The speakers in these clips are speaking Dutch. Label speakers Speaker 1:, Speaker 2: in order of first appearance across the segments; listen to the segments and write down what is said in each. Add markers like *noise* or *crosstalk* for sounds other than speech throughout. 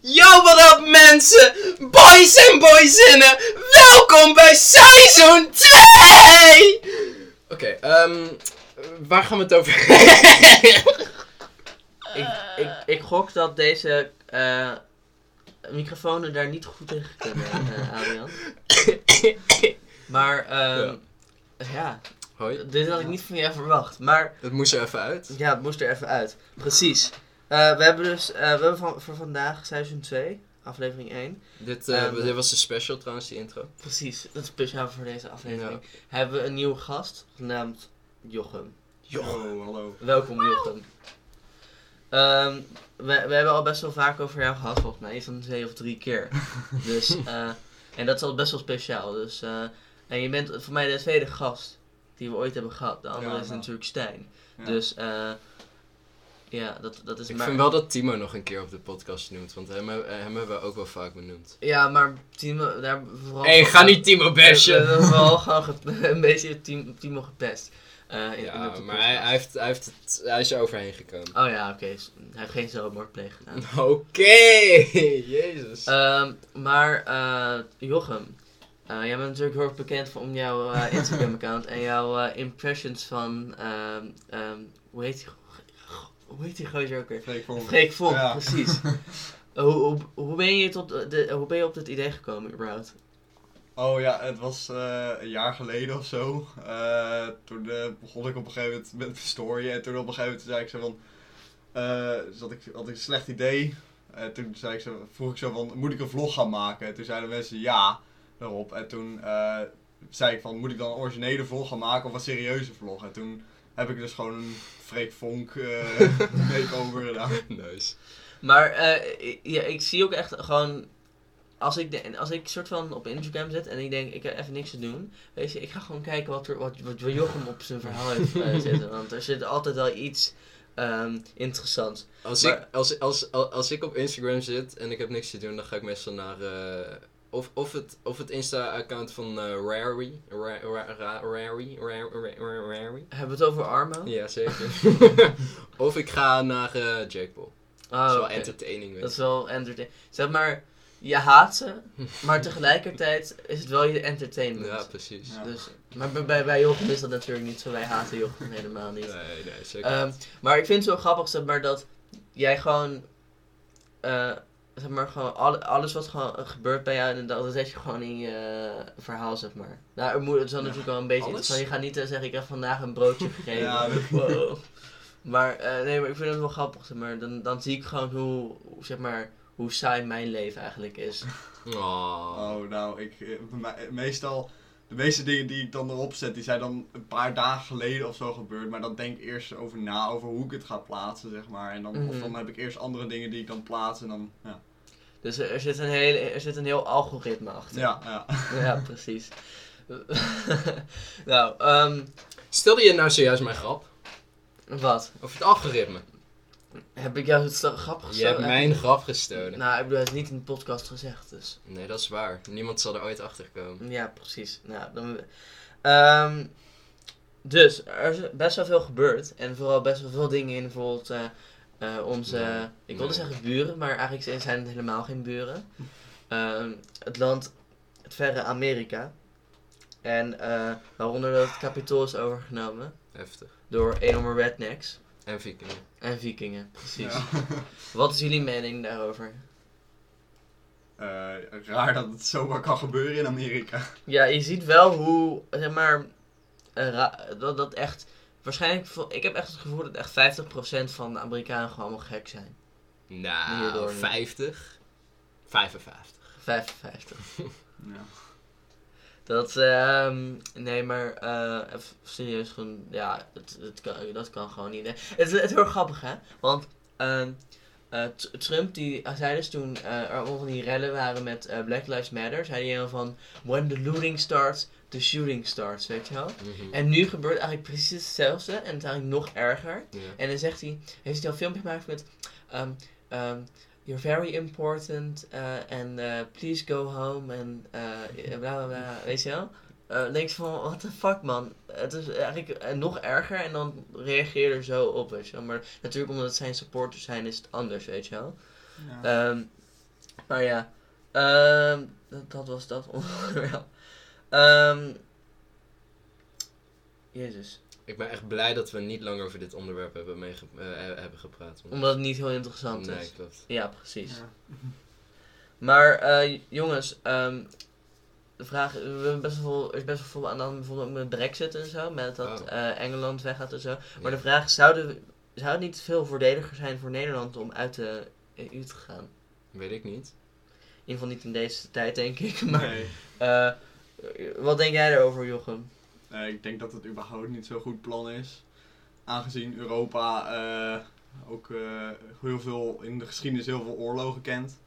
Speaker 1: Yo, wat up mensen, boys en boyzinnen, welkom bij seizoen 2! Oké, ehm, waar gaan we het *laughs* over
Speaker 2: Ik, ik, ik gok dat deze eh, microfoons daar niet goed tegen kunnen, eh, Adrian. Maar, ehm ja.
Speaker 1: Hoi,
Speaker 2: dit had ik niet van jou verwacht. Maar,
Speaker 1: het moest er even uit.
Speaker 2: ja, het moest er even uit. Precies. Eh, we hebben dus, eh, we hebben van, voor vandaag seizoen 2, aflevering 1.
Speaker 1: Dit, eh,
Speaker 2: Ehm,
Speaker 1: dit was de special trouwens, die intro. Nou.
Speaker 2: Precies, dat is speciaal voor deze aflevering. Hebben we een nieuwe gast, genaamd Jochem.
Speaker 1: Yo, hallo.
Speaker 2: Welkom Jochem. Ehm, we, we hebben al best wel vaak over jou gehad, volgens mij. Iets van twee of drie
Speaker 1: *laughs*
Speaker 2: keer. Dus, eh, en dat is al best wel speciaal. Dus, eh, en je bent voor mij de tweede gast die we ooit hebben gehad. De andere
Speaker 3: Ja,
Speaker 2: is
Speaker 3: nou.
Speaker 2: natuurlijk Stijn.
Speaker 3: Ja.
Speaker 2: Dus, eh, ja, dat, dat is
Speaker 1: Ik
Speaker 2: maar...
Speaker 1: vind wel dat Timo nog een keer op de podcast noemt, want hem, eh, hem hebben we ook wel vaak benoemd.
Speaker 2: Ja, maar Timo, daar vooral...
Speaker 1: Hé, hey, ga niet Timo
Speaker 2: We
Speaker 1: bashen!
Speaker 2: hebben vooral gewoon ge- *laughs* een beetje Tim- Timo gepest. eh, in- in
Speaker 1: Ja,
Speaker 2: de
Speaker 1: maar hij,
Speaker 2: podcast.
Speaker 1: hij heeft, hij, heeft het, hij is er overheen gekomen.
Speaker 2: Oh ja, oké. Hij heeft geen zelfmoordpleeg gedaan.
Speaker 1: Oké, *laughs* jezus.
Speaker 2: Ehm, maar eh, Jochem, eh, jij bent natuurlijk heel erg bekend van- om jouw eh, Instagram-account en jouw eh, impressions van, ehm, ehm, hoe heet die, go- hoe heet die gozer ook weer?
Speaker 3: Freek Vonk.
Speaker 2: Freek Vonk,
Speaker 3: Ja.
Speaker 2: precies. Eh, hoe, hoe, hoe, ben je tot de, hoe ben je op dit idee gekomen überhaupt?
Speaker 3: Oh ja, het was eh, een jaar geleden of zo. Eh, toen eh, begon ik op een gegeven moment met mijn story. En toen op een gegeven moment zei ik zo van... eh, zat ik, had ik een slecht idee. En toen zei ik zo, vroeg ik zo van, moet ik een vlog gaan maken? En toen zeiden mensen ja, daarop. En toen eh, zei ik van, moet ik dan een originele vlog gaan maken of een serieuze vlog? En toen heb ik dus gewoon een Freek
Speaker 2: *laughs*
Speaker 3: Vonk eh makeover gedaan.
Speaker 1: Nice.
Speaker 2: Maar eh, ik- ja, ik zie ook echt gewoon. Als ik, de- als ik soort van op Instagram zit en ik denk, ik heb even niks te doen. Weet je, ik ga gewoon kijken wat, er, wat, wat Jochem op zijn
Speaker 1: *laughs*
Speaker 2: verhaal heeft eh, zitten. Want er zit altijd wel iets ehm, interessants.
Speaker 1: Als,
Speaker 2: Maar-
Speaker 1: ik, als, als, als, als ik op Instagram zit en ik heb niks te doen, dan ga ik meestal naar. eh, of, of het, of het Insta-account van eh Rary. Ra- ra- ra- Rary. Ra- ra- ra- Rary.
Speaker 2: Hebben we het over Armo?
Speaker 1: Ja,
Speaker 2: *laughs*
Speaker 1: zeker. of ik ga naar eh Jake Paul.
Speaker 2: Oh,
Speaker 1: Dat is wel
Speaker 2: oké.
Speaker 1: entertaining. weet
Speaker 2: Dat
Speaker 1: je.
Speaker 2: is wel entertainment. Zeg maar, je
Speaker 1: *laughs*
Speaker 2: haat ze, maar tegelijkertijd is het wel je entertainment.
Speaker 1: Ja, precies.
Speaker 3: Ja.
Speaker 2: Dus, maar bij- bij, bij Jochem is dat natuurlijk niet zo. Wij haten Jochem helemaal niet.
Speaker 1: Nee, nee, zeker.
Speaker 2: Ehm, maar ik vind het zo grappig, zeg maar, dat jij gewoon, eh, zeg maar, gewoon alle- alles wat gewoon eh, gebeurt bij jou, en dat dat zet je gewoon in je eh, verhaal, zeg maar. Nou, er moet, het is dan
Speaker 3: Ja.
Speaker 2: natuurlijk wel een beetje,
Speaker 1: Alles?
Speaker 2: interessant. je gaat niet eh, zeggen, ik heb vandaag een broodje gegeten.
Speaker 3: Ja, dat-
Speaker 2: Wow. *laughs* Maar, eh, nee, maar ik vind het wel grappig, zeg maar, dan, dan zie ik gewoon hoe, hoe, zeg maar, hoe saai mijn leven eigenlijk is.
Speaker 1: oh.
Speaker 3: Oh, nou, ik, eh, bij mij- eh, meestal, de meeste dingen die ik dan erop zet, die zijn dan een paar dagen geleden of zo gebeurd. Maar dan denk ik eerst over na, over hoe ik het ga plaatsen, zeg maar. En dan, of
Speaker 2: Mhm.
Speaker 3: dan heb ik eerst andere dingen die ik dan plaats en dan, ja.
Speaker 2: Dus er, er zit, een hele, er zit een heel algoritme achter.
Speaker 3: Ja, ja.
Speaker 2: Ja, precies. *laughs* nou, ehm,
Speaker 1: Stelde je nou zojuist mijn grap?
Speaker 2: wat?
Speaker 1: Of het algoritme?
Speaker 2: Heb ik jou het sta- grappig
Speaker 1: Je
Speaker 2: gesteld?
Speaker 1: hebt mijn grap gestolen.
Speaker 2: eh. Nou, ik bedoel, het is niet in de podcast gezegd, dus.
Speaker 1: Nee, dat is waar. Niemand zal er ooit achter komen.
Speaker 2: Ja, precies. Nou, dan... Ehm, dus, er is best wel veel gebeurd. En vooral best wel veel dingen in bijvoorbeeld eh, eh, onze...
Speaker 1: Nee,
Speaker 2: ik wilde
Speaker 1: nee. Hm.
Speaker 2: zeggen buren, maar eigenlijk zijn- zijn het helemaal geen buren. Ehm, het land, het verre Amerika. En eh, waaronder dat het kapitool is overgenomen
Speaker 1: Heftig.
Speaker 2: door enorme rednecks
Speaker 1: En vikingen.
Speaker 2: en vikingen. Precies.
Speaker 3: Ja.
Speaker 2: Wat is jullie mening daarover?
Speaker 3: *laughs* Eh, raar dat het zomaar kan gebeuren in Amerika.
Speaker 2: Ja, je ziet wel hoe, zeg maar, eh, ra- dat, dat echt, waarschijnlijk, vo- ik heb echt het gevoel dat echt 50% van de Amerikanen gewoon allemaal gek zijn. Hierdoor
Speaker 1: Nou,
Speaker 2: niet.
Speaker 1: 50. 55.
Speaker 2: 55.
Speaker 3: Ja.
Speaker 2: Dat, ehm, nee, maar, eh, even serieus, gewoon, ja, het, het kan, dat kan gewoon niet. hè. Het, het is heel grappig, hè? Want, ehm, eh, Tr- Trump, die hij zei dus toen eh, er allemaal van die rellen waren met eh, Black Lives Matter, zei hij helemaal van, when the looting starts, the shooting starts, weet je wel?
Speaker 1: Mhm.
Speaker 2: En nu gebeurt eigenlijk precies hetzelfde en het is eigenlijk nog erger.
Speaker 1: Ja.
Speaker 2: En dan zegt hij, heeft hij al een filmpje gemaakt met ehm, ehm, You're very important eh, and eh, please go home and eh, bla bla bla, weet je wel? Eh, dan denk je van, what the fuck man, het is eigenlijk eh, nog erger en dan reageer je er zo op, weet je wel. Maar natuurlijk omdat het zijn supporters zijn is het anders, weet je wel.
Speaker 3: Ja.
Speaker 2: Ehm, Maar ja, ehm, dat, dat was dat *laughs* onderwerp. Ehm, Jezus.
Speaker 1: Ik ben echt blij dat we niet lang over dit onderwerp hebben, meege- eh, hebben gepraat. want-
Speaker 2: Omdat het niet heel interessant
Speaker 1: Nee,
Speaker 2: is.
Speaker 1: klopt.
Speaker 2: Ja, precies. Maar eh, jongens, ehm, de vraag, we hebben best wel veel, er is best wel veel aan de hand, bijvoorbeeld ook met Brexit en zo, met dat
Speaker 1: Oh.
Speaker 2: eh, Engeland weggaat en zo. Maar
Speaker 1: Ja.
Speaker 2: de vraag, zouden, we- zou het niet veel voordeliger zijn voor Nederland om uit de EU te gaan?
Speaker 1: Weet ik niet.
Speaker 2: In ieder geval niet in deze tijd, denk ik. *laughs* Maar
Speaker 3: Nee.
Speaker 2: eh, wat denk jij daarover, Jochem?
Speaker 3: Nee, Eh, ik denk dat het überhaupt niet zo'n goed plan is. Aangezien Europa eh, ook eh, heel veel in de geschiedenis heel veel oorlogen kent.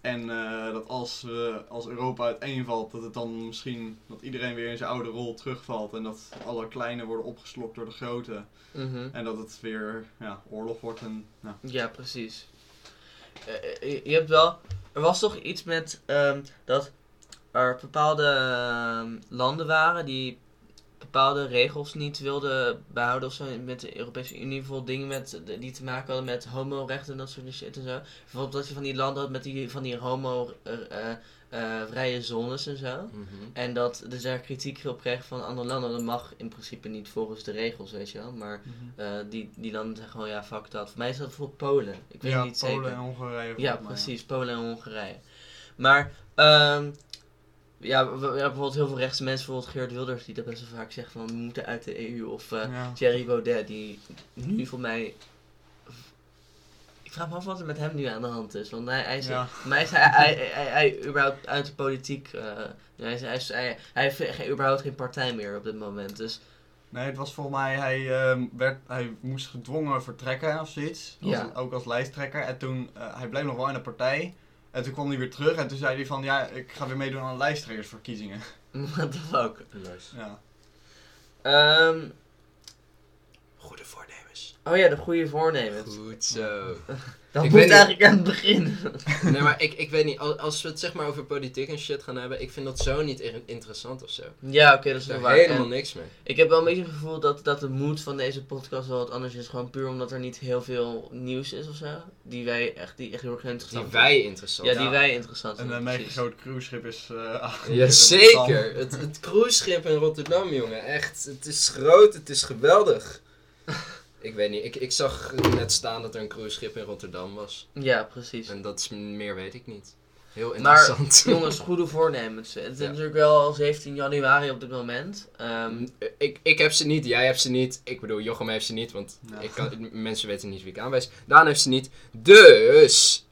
Speaker 3: En eh, dat als, we als Europa uiteenvalt, dat het dan misschien dat iedereen weer in zijn oude rol terugvalt. En dat alle kleine worden opgeslokt door de grote.
Speaker 2: Mhm.
Speaker 3: En dat het weer ja, oorlog wordt. En, nou,
Speaker 2: Ja, precies. Eh, eh, je hebt wel. Er was toch iets met ehm, dat er bepaalde ehm, landen waren die bepaalde regels niet wilden behouden of zo met de Europese Unie. Bijvoorbeeld dingen met, die te maken hadden met homorechten en dat soort shit en zo. Bijvoorbeeld dat je van die landen had met die, van die homo eh, eh, eh, vrije zones en zo.
Speaker 1: Mhm.
Speaker 2: En dat dus daar kritiek op kreeg van andere landen. Dat mag in principe niet volgens de regels, weet je wel. Maar eh, die, die landen zeggen gewoon, ja, fuck dat. Voor mij is dat bijvoorbeeld Polen. Ik weet
Speaker 3: ja,
Speaker 2: niet
Speaker 3: Polen
Speaker 2: zeker.
Speaker 3: en Hongarije.
Speaker 2: ja,
Speaker 3: volgens mij,
Speaker 2: precies. Polen en Hongarije. Maar, ehm, ja, we- we- ja, bijvoorbeeld heel veel rechtse mensen, bijvoorbeeld Geert Wilders, die dat best wel vaak zegt van, we moeten uit de EU. Of eh,
Speaker 3: Ja.
Speaker 2: Thierry Baudet, die nu voor mij... Ik vraag me af wat er met hem nu aan de hand is. Want hij, hij is,
Speaker 3: Ja.
Speaker 2: voor mij is hij, hij, hij, hij, überhaupt uit de politiek. eh, hij, is, hij, is- hij, hij heeft geen- überhaupt geen partij meer op dit moment. Dus *laughs*
Speaker 3: Nee, het was volgens mij, hij, ehm, werd, hij moest gedwongen vertrekken of zoiets. Als-
Speaker 2: Ja.
Speaker 3: ook als lijsttrekker. En toen, eh, hij bleef nog wel in de partij. En toen kwam hij weer terug en toen zei hij van, ja, ik ga weer meedoen aan lijsttrekkersverkiezingen.
Speaker 2: *laughs* what the fuck.
Speaker 1: Nice.
Speaker 3: Ja.
Speaker 2: Ehm,
Speaker 1: Goede voornemens.
Speaker 2: oh ja, de goede voornemens.
Speaker 1: Goed
Speaker 2: *laughs*
Speaker 1: zo.
Speaker 2: Dat
Speaker 1: Ik
Speaker 2: moet
Speaker 1: weet niet-
Speaker 2: eigenlijk aan het begin.
Speaker 1: nee, maar ik, ik weet niet, al- als we het zeg maar over politiek en shit gaan hebben, ik vind dat zo niet in- interessant of zo. Ik
Speaker 2: ja, oké, dat is wel
Speaker 1: heb
Speaker 2: waar.
Speaker 1: daar helemaal
Speaker 2: En
Speaker 1: niks mee.
Speaker 2: ik heb wel een beetje het gevoel dat, dat de moed van deze podcast wel wat anders is. Gewoon puur omdat er niet heel veel nieuws is of zo. Die wij echt, die echt heel erg
Speaker 1: Die
Speaker 2: interessant
Speaker 1: wij
Speaker 2: vinden.
Speaker 1: interessant Nou,
Speaker 2: Ja, die
Speaker 3: Ja.
Speaker 2: wij interessant
Speaker 3: En
Speaker 2: vinden.
Speaker 3: een mega
Speaker 2: precies.
Speaker 3: groot cruiseschip is eh *laughs* aangekomen.
Speaker 1: Ja, zeker. Het, het cruiseschip in Rotterdam, jongen. Echt, het is groot, het is geweldig. ik weet niet, ik, ik zag net staan dat er een cruiseschip in Rotterdam was.
Speaker 2: Ja,
Speaker 1: *laughs*
Speaker 2: precies.
Speaker 1: En dat is meer weet ik niet. Heel
Speaker 2: Maar, *laughs*
Speaker 1: interessant. *laughs*
Speaker 2: jongens, goede voornemens. Het is
Speaker 1: Ja.
Speaker 2: natuurlijk wel 17 januari op dit moment. Ehm,
Speaker 1: ik, ik heb ze niet, jij hebt ze niet. Ik bedoel, Jochem heeft ze niet, want
Speaker 3: Ja.
Speaker 1: ik kan, m- mensen weten niet wie ik aanwijs. Daan heeft ze niet. Dus,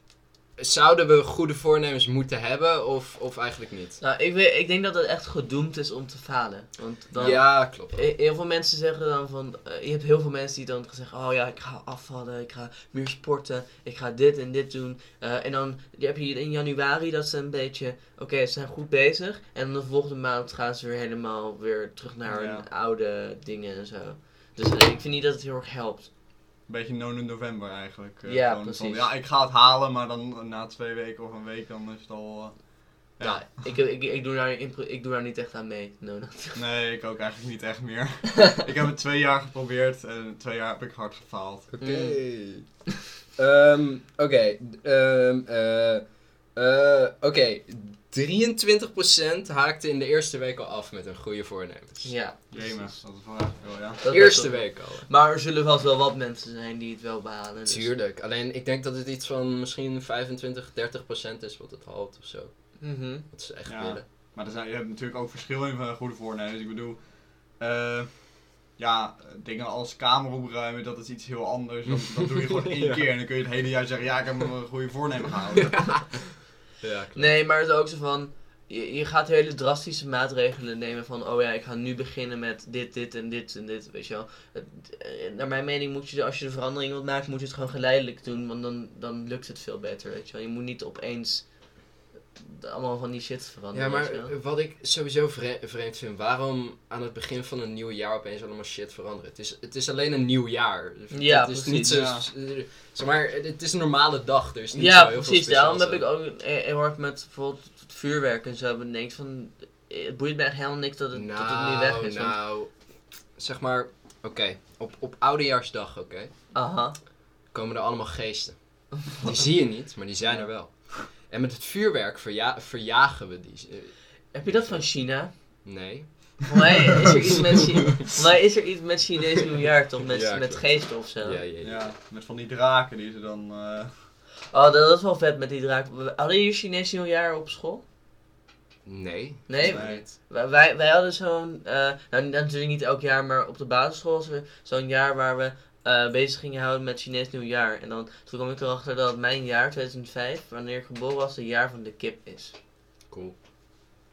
Speaker 1: zouden we goede voornemens moeten hebben of, of eigenlijk niet?
Speaker 2: nou, ik, weet, ik denk dat het echt gedoemd is om te falen. Want dan,
Speaker 1: Ja, klopt.
Speaker 2: He- Eh, Heel veel mensen zeggen dan van, eh, je hebt heel veel mensen die dan zeggen, oh ja, ik ga afvallen, ik ga meer sporten, ik ga dit en dit doen. Eh, en dan die heb je in januari dat ze een beetje, oké, ze zijn goed bezig. En dan de volgende maand gaan ze weer helemaal weer terug naar
Speaker 3: Ja.
Speaker 2: hun oude dingen en zo. Dus eh, ik vind niet dat het heel erg helpt.
Speaker 3: Een beetje nonen november eigenlijk. eh,
Speaker 2: Ja,
Speaker 3: gewoon
Speaker 2: precies.
Speaker 3: Van, ja, ik ga het halen, maar dan eh, na twee weken of een week, dan is het al... eh,
Speaker 2: Ja.
Speaker 3: ja.
Speaker 2: ik, ik, ik, doe daar, in- ik doe daar niet echt aan mee. No, no. *laughs*
Speaker 3: eh, Nee, ik ook eigenlijk niet echt meer. ik heb het twee jaar geprobeerd en twee jaar heb ik hard gefaald.
Speaker 1: Oké.
Speaker 2: Mm.
Speaker 1: *laughs* Ehm, Oké. ehm, eh, eh, Oké. 23% haakte in de eerste week al af met een goede voornemens.
Speaker 2: Ja, precies.
Speaker 3: Jemig, dat is wel echt veel, ja.
Speaker 2: Dat best
Speaker 1: eerste
Speaker 2: wel-
Speaker 1: week al. dus-
Speaker 2: Maar er zullen vast wel wat mensen zijn die het wel behalen. Dus.
Speaker 1: Tuurlijk. Alleen ik denk dat het iets van misschien 25, 30% is wat het haalt of zo.
Speaker 2: Mhm.
Speaker 1: Wat ze echt
Speaker 3: Ja.
Speaker 1: willen.
Speaker 3: Maar er zijn, je hebt natuurlijk ook verschil in van goede voornemens. Ik bedoel, eh, ja, dingen als kamer opruimen, dat is iets heel anders. Dat, dat doe je gewoon één
Speaker 1: Ja.
Speaker 3: keer en dan kun je het hele jaar zeggen, ja, ik heb me een goede voornemen gehouden.
Speaker 1: Ja, klopt.
Speaker 2: Nee, maar het is ook zo van. Je, je gaat hele drastische maatregelen nemen van. Oh ja, ik ga nu beginnen met dit, dit en dit en dit. Weet je wel. Het- eh, Naar mijn mening moet je, als je de verandering wilt maken, moet je het gewoon geleidelijk doen. Want dan, dan lukt het veel beter, weet je wel. Je moet niet opeens allemaal van die shit
Speaker 1: Ja,
Speaker 2: veranderen. weet
Speaker 1: maar
Speaker 2: je wel.
Speaker 1: wat ik sowieso vre- vreemd vind, waarom aan het begin van een nieuw jaar opeens allemaal shit veranderen? Het is, het is alleen een nieuw jaar.
Speaker 2: Ja,
Speaker 1: het is niet zo.
Speaker 3: precies.
Speaker 1: eh, Zeg maar, het is een normale dag, dus niet
Speaker 2: Ja,
Speaker 1: zo heel
Speaker 2: precies.
Speaker 1: veel
Speaker 2: Daarom
Speaker 1: speciaals
Speaker 2: heb ik
Speaker 1: aan.
Speaker 2: ook eh, heel hard met bijvoorbeeld het vuurwerk en zo bedenkt van. eh, Het boeit mij echt helemaal niks dat het, dat het nu weg is. want-
Speaker 1: Nou, zeg maar, oké, op, op oudejaarsdag, oké,
Speaker 2: aha.
Speaker 1: komen er allemaal geesten. Die zie je niet, maar die zijn er wel. En met het vuurwerk verja- verjagen we die. eh,
Speaker 2: Heb je dat van China?
Speaker 1: Nee.
Speaker 2: Nee, is er iets *laughs* met China? Nee, is er iets met Chinees nieuwjaar toch? Met,
Speaker 1: Ja,
Speaker 2: met
Speaker 1: klopt.
Speaker 2: geesten of zo?
Speaker 1: Ja, ja, ja.
Speaker 3: Ja, met van die draken die ze dan... eh,
Speaker 2: Oh, dat is wel vet met die draak. We- Hadden jullie Chinees nieuwjaar op school?
Speaker 1: Nee.
Speaker 2: Nee?
Speaker 1: volgens mij
Speaker 3: Nee.
Speaker 1: niet.
Speaker 2: Wij- Wij, wij hadden zo'n, eh, nou natuurlijk niet elk jaar, maar op de basisschool was er zo'n jaar waar we eh, bezig gingen houden met Chinees nieuwjaar. En dan, toen kwam ik erachter dat mijn jaar 2005, wanneer ik geboren was, het jaar van de kip is.
Speaker 1: Cool.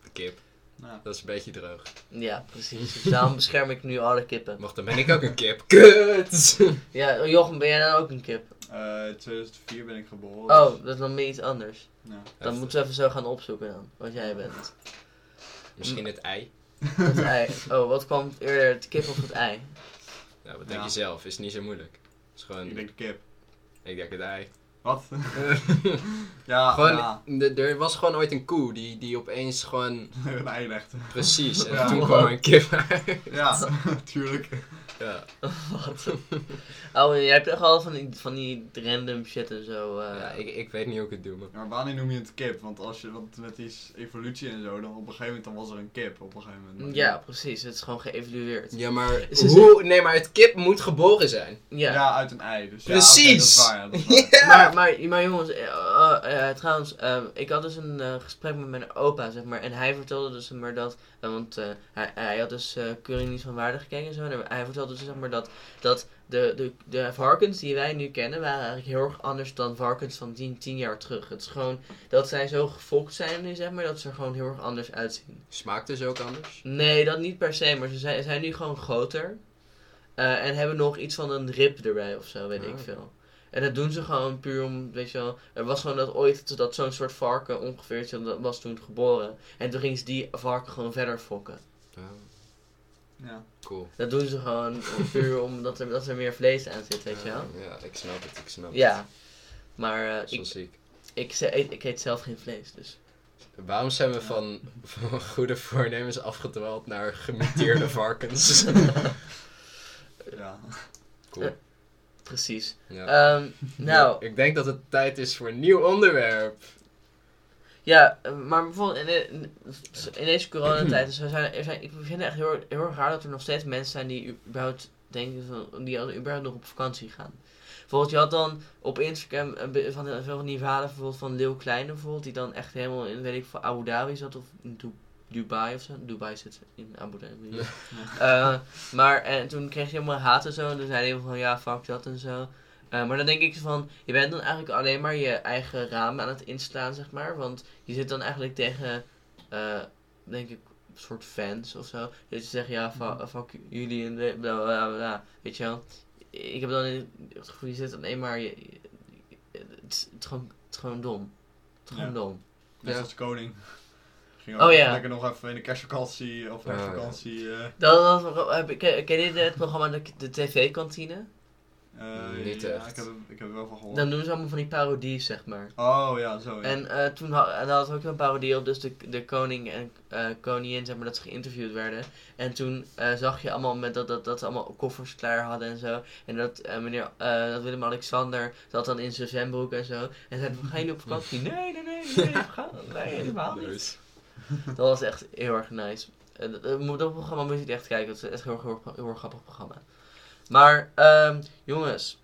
Speaker 1: De kip.
Speaker 3: nou,
Speaker 1: Dat is een beetje droog.
Speaker 2: Ja, precies. Dus daarom bescherm ik nu alle kippen.
Speaker 1: Wacht, dan ben ik ook een kip. *laughs* Kut!
Speaker 2: Ja, Jochem, ben jij dan ook een kip?
Speaker 3: eh, 2004 ben ik geboren.
Speaker 2: Oh, dat is dan weer iets anders.
Speaker 3: Ja.
Speaker 2: Dan moeten we even zo gaan opzoeken dan, wat jij bent.
Speaker 1: Misschien het ei.
Speaker 3: *laughs*
Speaker 2: Het *laughs* ei. Oh, wat kwam eerder, het kip of het ei? *laughs*
Speaker 1: Nou, wat denk
Speaker 3: Ja.
Speaker 1: je zelf? Is niet zo moeilijk. Het is gewoon...
Speaker 3: Ik denk de kip.
Speaker 1: Ik denk het
Speaker 3: *laughs*
Speaker 1: ei. *laughs*
Speaker 2: *laughs*
Speaker 3: Wat? ja,
Speaker 1: gewoon,
Speaker 3: ja. *laughs*
Speaker 1: d- er was gewoon ooit een koe die, die opeens gewoon...
Speaker 3: een ei legt.
Speaker 1: Precies. En
Speaker 3: Ja.
Speaker 1: toen kwam er een *laughs* kip uit.
Speaker 2: *laughs*
Speaker 3: Ja, *laughs* tuurlijk.
Speaker 1: Ja. *laughs*
Speaker 2: Wat? Oh, en jij hebt echt al van die, van die random shit en zo. eh.
Speaker 1: Ja, ik, ik weet niet hoe ik het doe, maar...
Speaker 3: Maar wanneer noem je het kip? Want als je want met die s- evolutie en zo, dan op een gegeven moment dan was er een kip. Op een gegeven moment. Maar-
Speaker 2: Ja, precies. Het is gewoon geëvalueerd.
Speaker 1: Ja, maar
Speaker 2: Ze
Speaker 1: hoe... Nee, maar het kip moet geboren zijn.
Speaker 2: Ja.
Speaker 3: Ja. uit een ei. Dus Ja, oké, dat
Speaker 1: Precies.
Speaker 3: is waar, ja, dat is
Speaker 2: *laughs*
Speaker 3: waar.
Speaker 2: Maar, maar, maar jongens, eh, eh, eh, trouwens, eh, ik had dus een eh, gesprek met mijn opa, zeg maar. En hij vertelde dus maar dat, eh, want eh, hij, hij had dus eh Keuring niet van waarde gekeken en zo. En hij vertelde dus zeg maar dat, dat de, de, de varkens die wij nu kennen, waren eigenlijk heel erg anders dan varkens van 10, 10 jaar terug. Het is gewoon dat zij zo gefokt zijn nu, zeg maar, dat ze er gewoon heel erg anders uitzien.
Speaker 1: Smaakt dus ook anders.
Speaker 2: Nee, dat niet per se, maar ze zijn, zijn nu gewoon groter. Eh, en hebben nog iets van een rib erbij of zo, weet
Speaker 1: Ah.
Speaker 2: ik veel. En dat doen ze gewoon puur om, weet je wel. Er was gewoon dat ooit dat zo'n soort varken ongeveer zo- dat was toen geboren. En toen gingen ze die varken gewoon verder fokken.
Speaker 1: Ja,
Speaker 3: Ja.
Speaker 1: cool.
Speaker 2: Dat doen ze gewoon *laughs* om- puur omdat er, dat er meer vlees aan zit, weet je wel.
Speaker 1: Ja, ik snap het, ik snap het.
Speaker 2: Ja. Maar eh,
Speaker 1: Zo
Speaker 2: ik,
Speaker 1: ziek.
Speaker 2: ik, ze- eet, ik eet zelf geen vlees, dus.
Speaker 1: Waarom zijn we van, van goede voornemens afgedwaald naar *laughs* gemuteerde varkens?
Speaker 3: ja.
Speaker 1: Cool.
Speaker 2: Precies.
Speaker 1: Ja.
Speaker 2: Ehm, Eh, nou,
Speaker 1: Ik denk dat het tijd is voor een nieuw onderwerp.
Speaker 2: Ja, eh, maar bijvoorbeeld in, de- in, in deze coronatijd, dus er zijn, er zijn, ik vind het echt heel, heel erg raar dat er nog steeds mensen zijn die überhaupt denken van, die al überhaupt nog op vakantie gaan. Bijvoorbeeld, je had dan op Instagram een be- van, van, van die verhalen bijvoorbeeld van Leeuw Kleine bijvoorbeeld, die dan echt helemaal in, weet ik veel, Abu Dhabi zat of in Du- Dubai of zo. Dubai zit ze, in Abu Dhabi.
Speaker 1: Ja.
Speaker 2: *laughs* Eh, maar en toen kreeg je helemaal haat en zo, en toen zei hij van, ja, fuck dat en zo. Eh, maar dan denk ik van, je bent dan eigenlijk alleen maar je eigen raam aan het inslaan, zeg maar. Want je zit dan eigenlijk tegen, eh, denk ik, een soort fans of zo. Dat je zegt, ja, fa- fuck jullie en de- bla bla bla. bla. Weet je wel? Ik heb dan het gevoel, je zit alleen maar, je, je- het, is- het, is gewoon, het is gewoon dom. Het is gewoon
Speaker 3: Ja.
Speaker 2: dom.
Speaker 3: Net
Speaker 1: Ja.
Speaker 3: als de koning. Ging
Speaker 2: Oh,
Speaker 3: ook
Speaker 2: ja.
Speaker 3: lekker nog even in de kerstvakantie of
Speaker 1: Oh, ja.
Speaker 3: herfstvakantie. eh,
Speaker 2: Dan, dan heb ik- ken, ken je het programma de, de tv-kantine?
Speaker 3: eh,
Speaker 1: Niet
Speaker 3: ja,
Speaker 1: echt.
Speaker 3: Ik heb, er- ik heb er wel van gehoord.
Speaker 2: Dan doen ze allemaal van die parodieën, zeg maar.
Speaker 3: Oh ja, zo. Ja.
Speaker 2: En eh, toen had, en daar had ook een parodie op, dus de, de koning en eh, koningin, zeg maar, dat ze geïnterviewd werden. En toen eh, zag je allemaal met dat, dat, dat ze allemaal koffers klaar hadden en zo. En dat eh, meneer, eh, dat Willem-Alexander zat dan in zijn zwembroek en zo. En zei, we gaan jullie op
Speaker 3: *laughs*
Speaker 2: vakantie? Nee, nee, nee, nee, we gaan, nee, helemaal niet.
Speaker 1: Dus.
Speaker 2: *laughs* Dat was echt heel erg nice. Eh, dat- dat moet- dat programma moet je echt kijken, dat is echt een heel, heel, heel, heel grappig programma. Maar, ehm, jongens,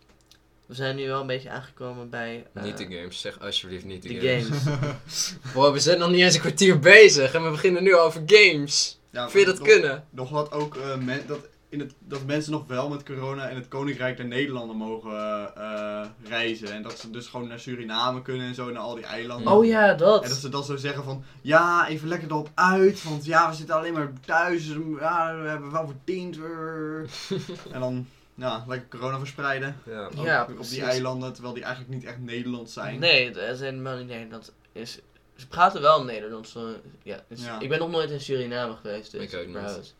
Speaker 2: we zijn nu wel een beetje aangekomen bij... eh,
Speaker 1: Niet de games, zeg alsjeblieft niet de,
Speaker 2: de
Speaker 1: games.
Speaker 2: games.
Speaker 1: *laughs* Wow, we zijn nog niet eens een kwartier bezig en we beginnen nu over games.
Speaker 3: Ja,
Speaker 1: Vind je dat
Speaker 3: nog-
Speaker 1: kunnen?
Speaker 3: Nog wat ook eh, men- dat, in het, dat mensen nog wel met corona in het Koninkrijk der Nederlanden mogen eh, eh, reizen. En dat ze dus gewoon naar Suriname kunnen en zo, naar al die eilanden.
Speaker 2: Oh ja, dat.
Speaker 3: En dat ze dan zo zeggen van, ja, even lekker erop uit, want ja, we zitten alleen maar thuis, dus, ja, we hebben wel verdiend. eh. en dan, ja, lekker corona verspreiden.
Speaker 1: Ja.
Speaker 3: Ook
Speaker 2: Ja,
Speaker 3: op
Speaker 2: precies.
Speaker 3: die eilanden, terwijl die eigenlijk niet echt Nederland zijn.
Speaker 2: Nee, dat is helemaal niet Nederland. Is, ze praten wel Nederlands. eh, Ja, dus
Speaker 3: Ja.
Speaker 2: Ik ben nog nooit in Suriname geweest. Dus
Speaker 1: Ik ook niet.
Speaker 2: überhaupt.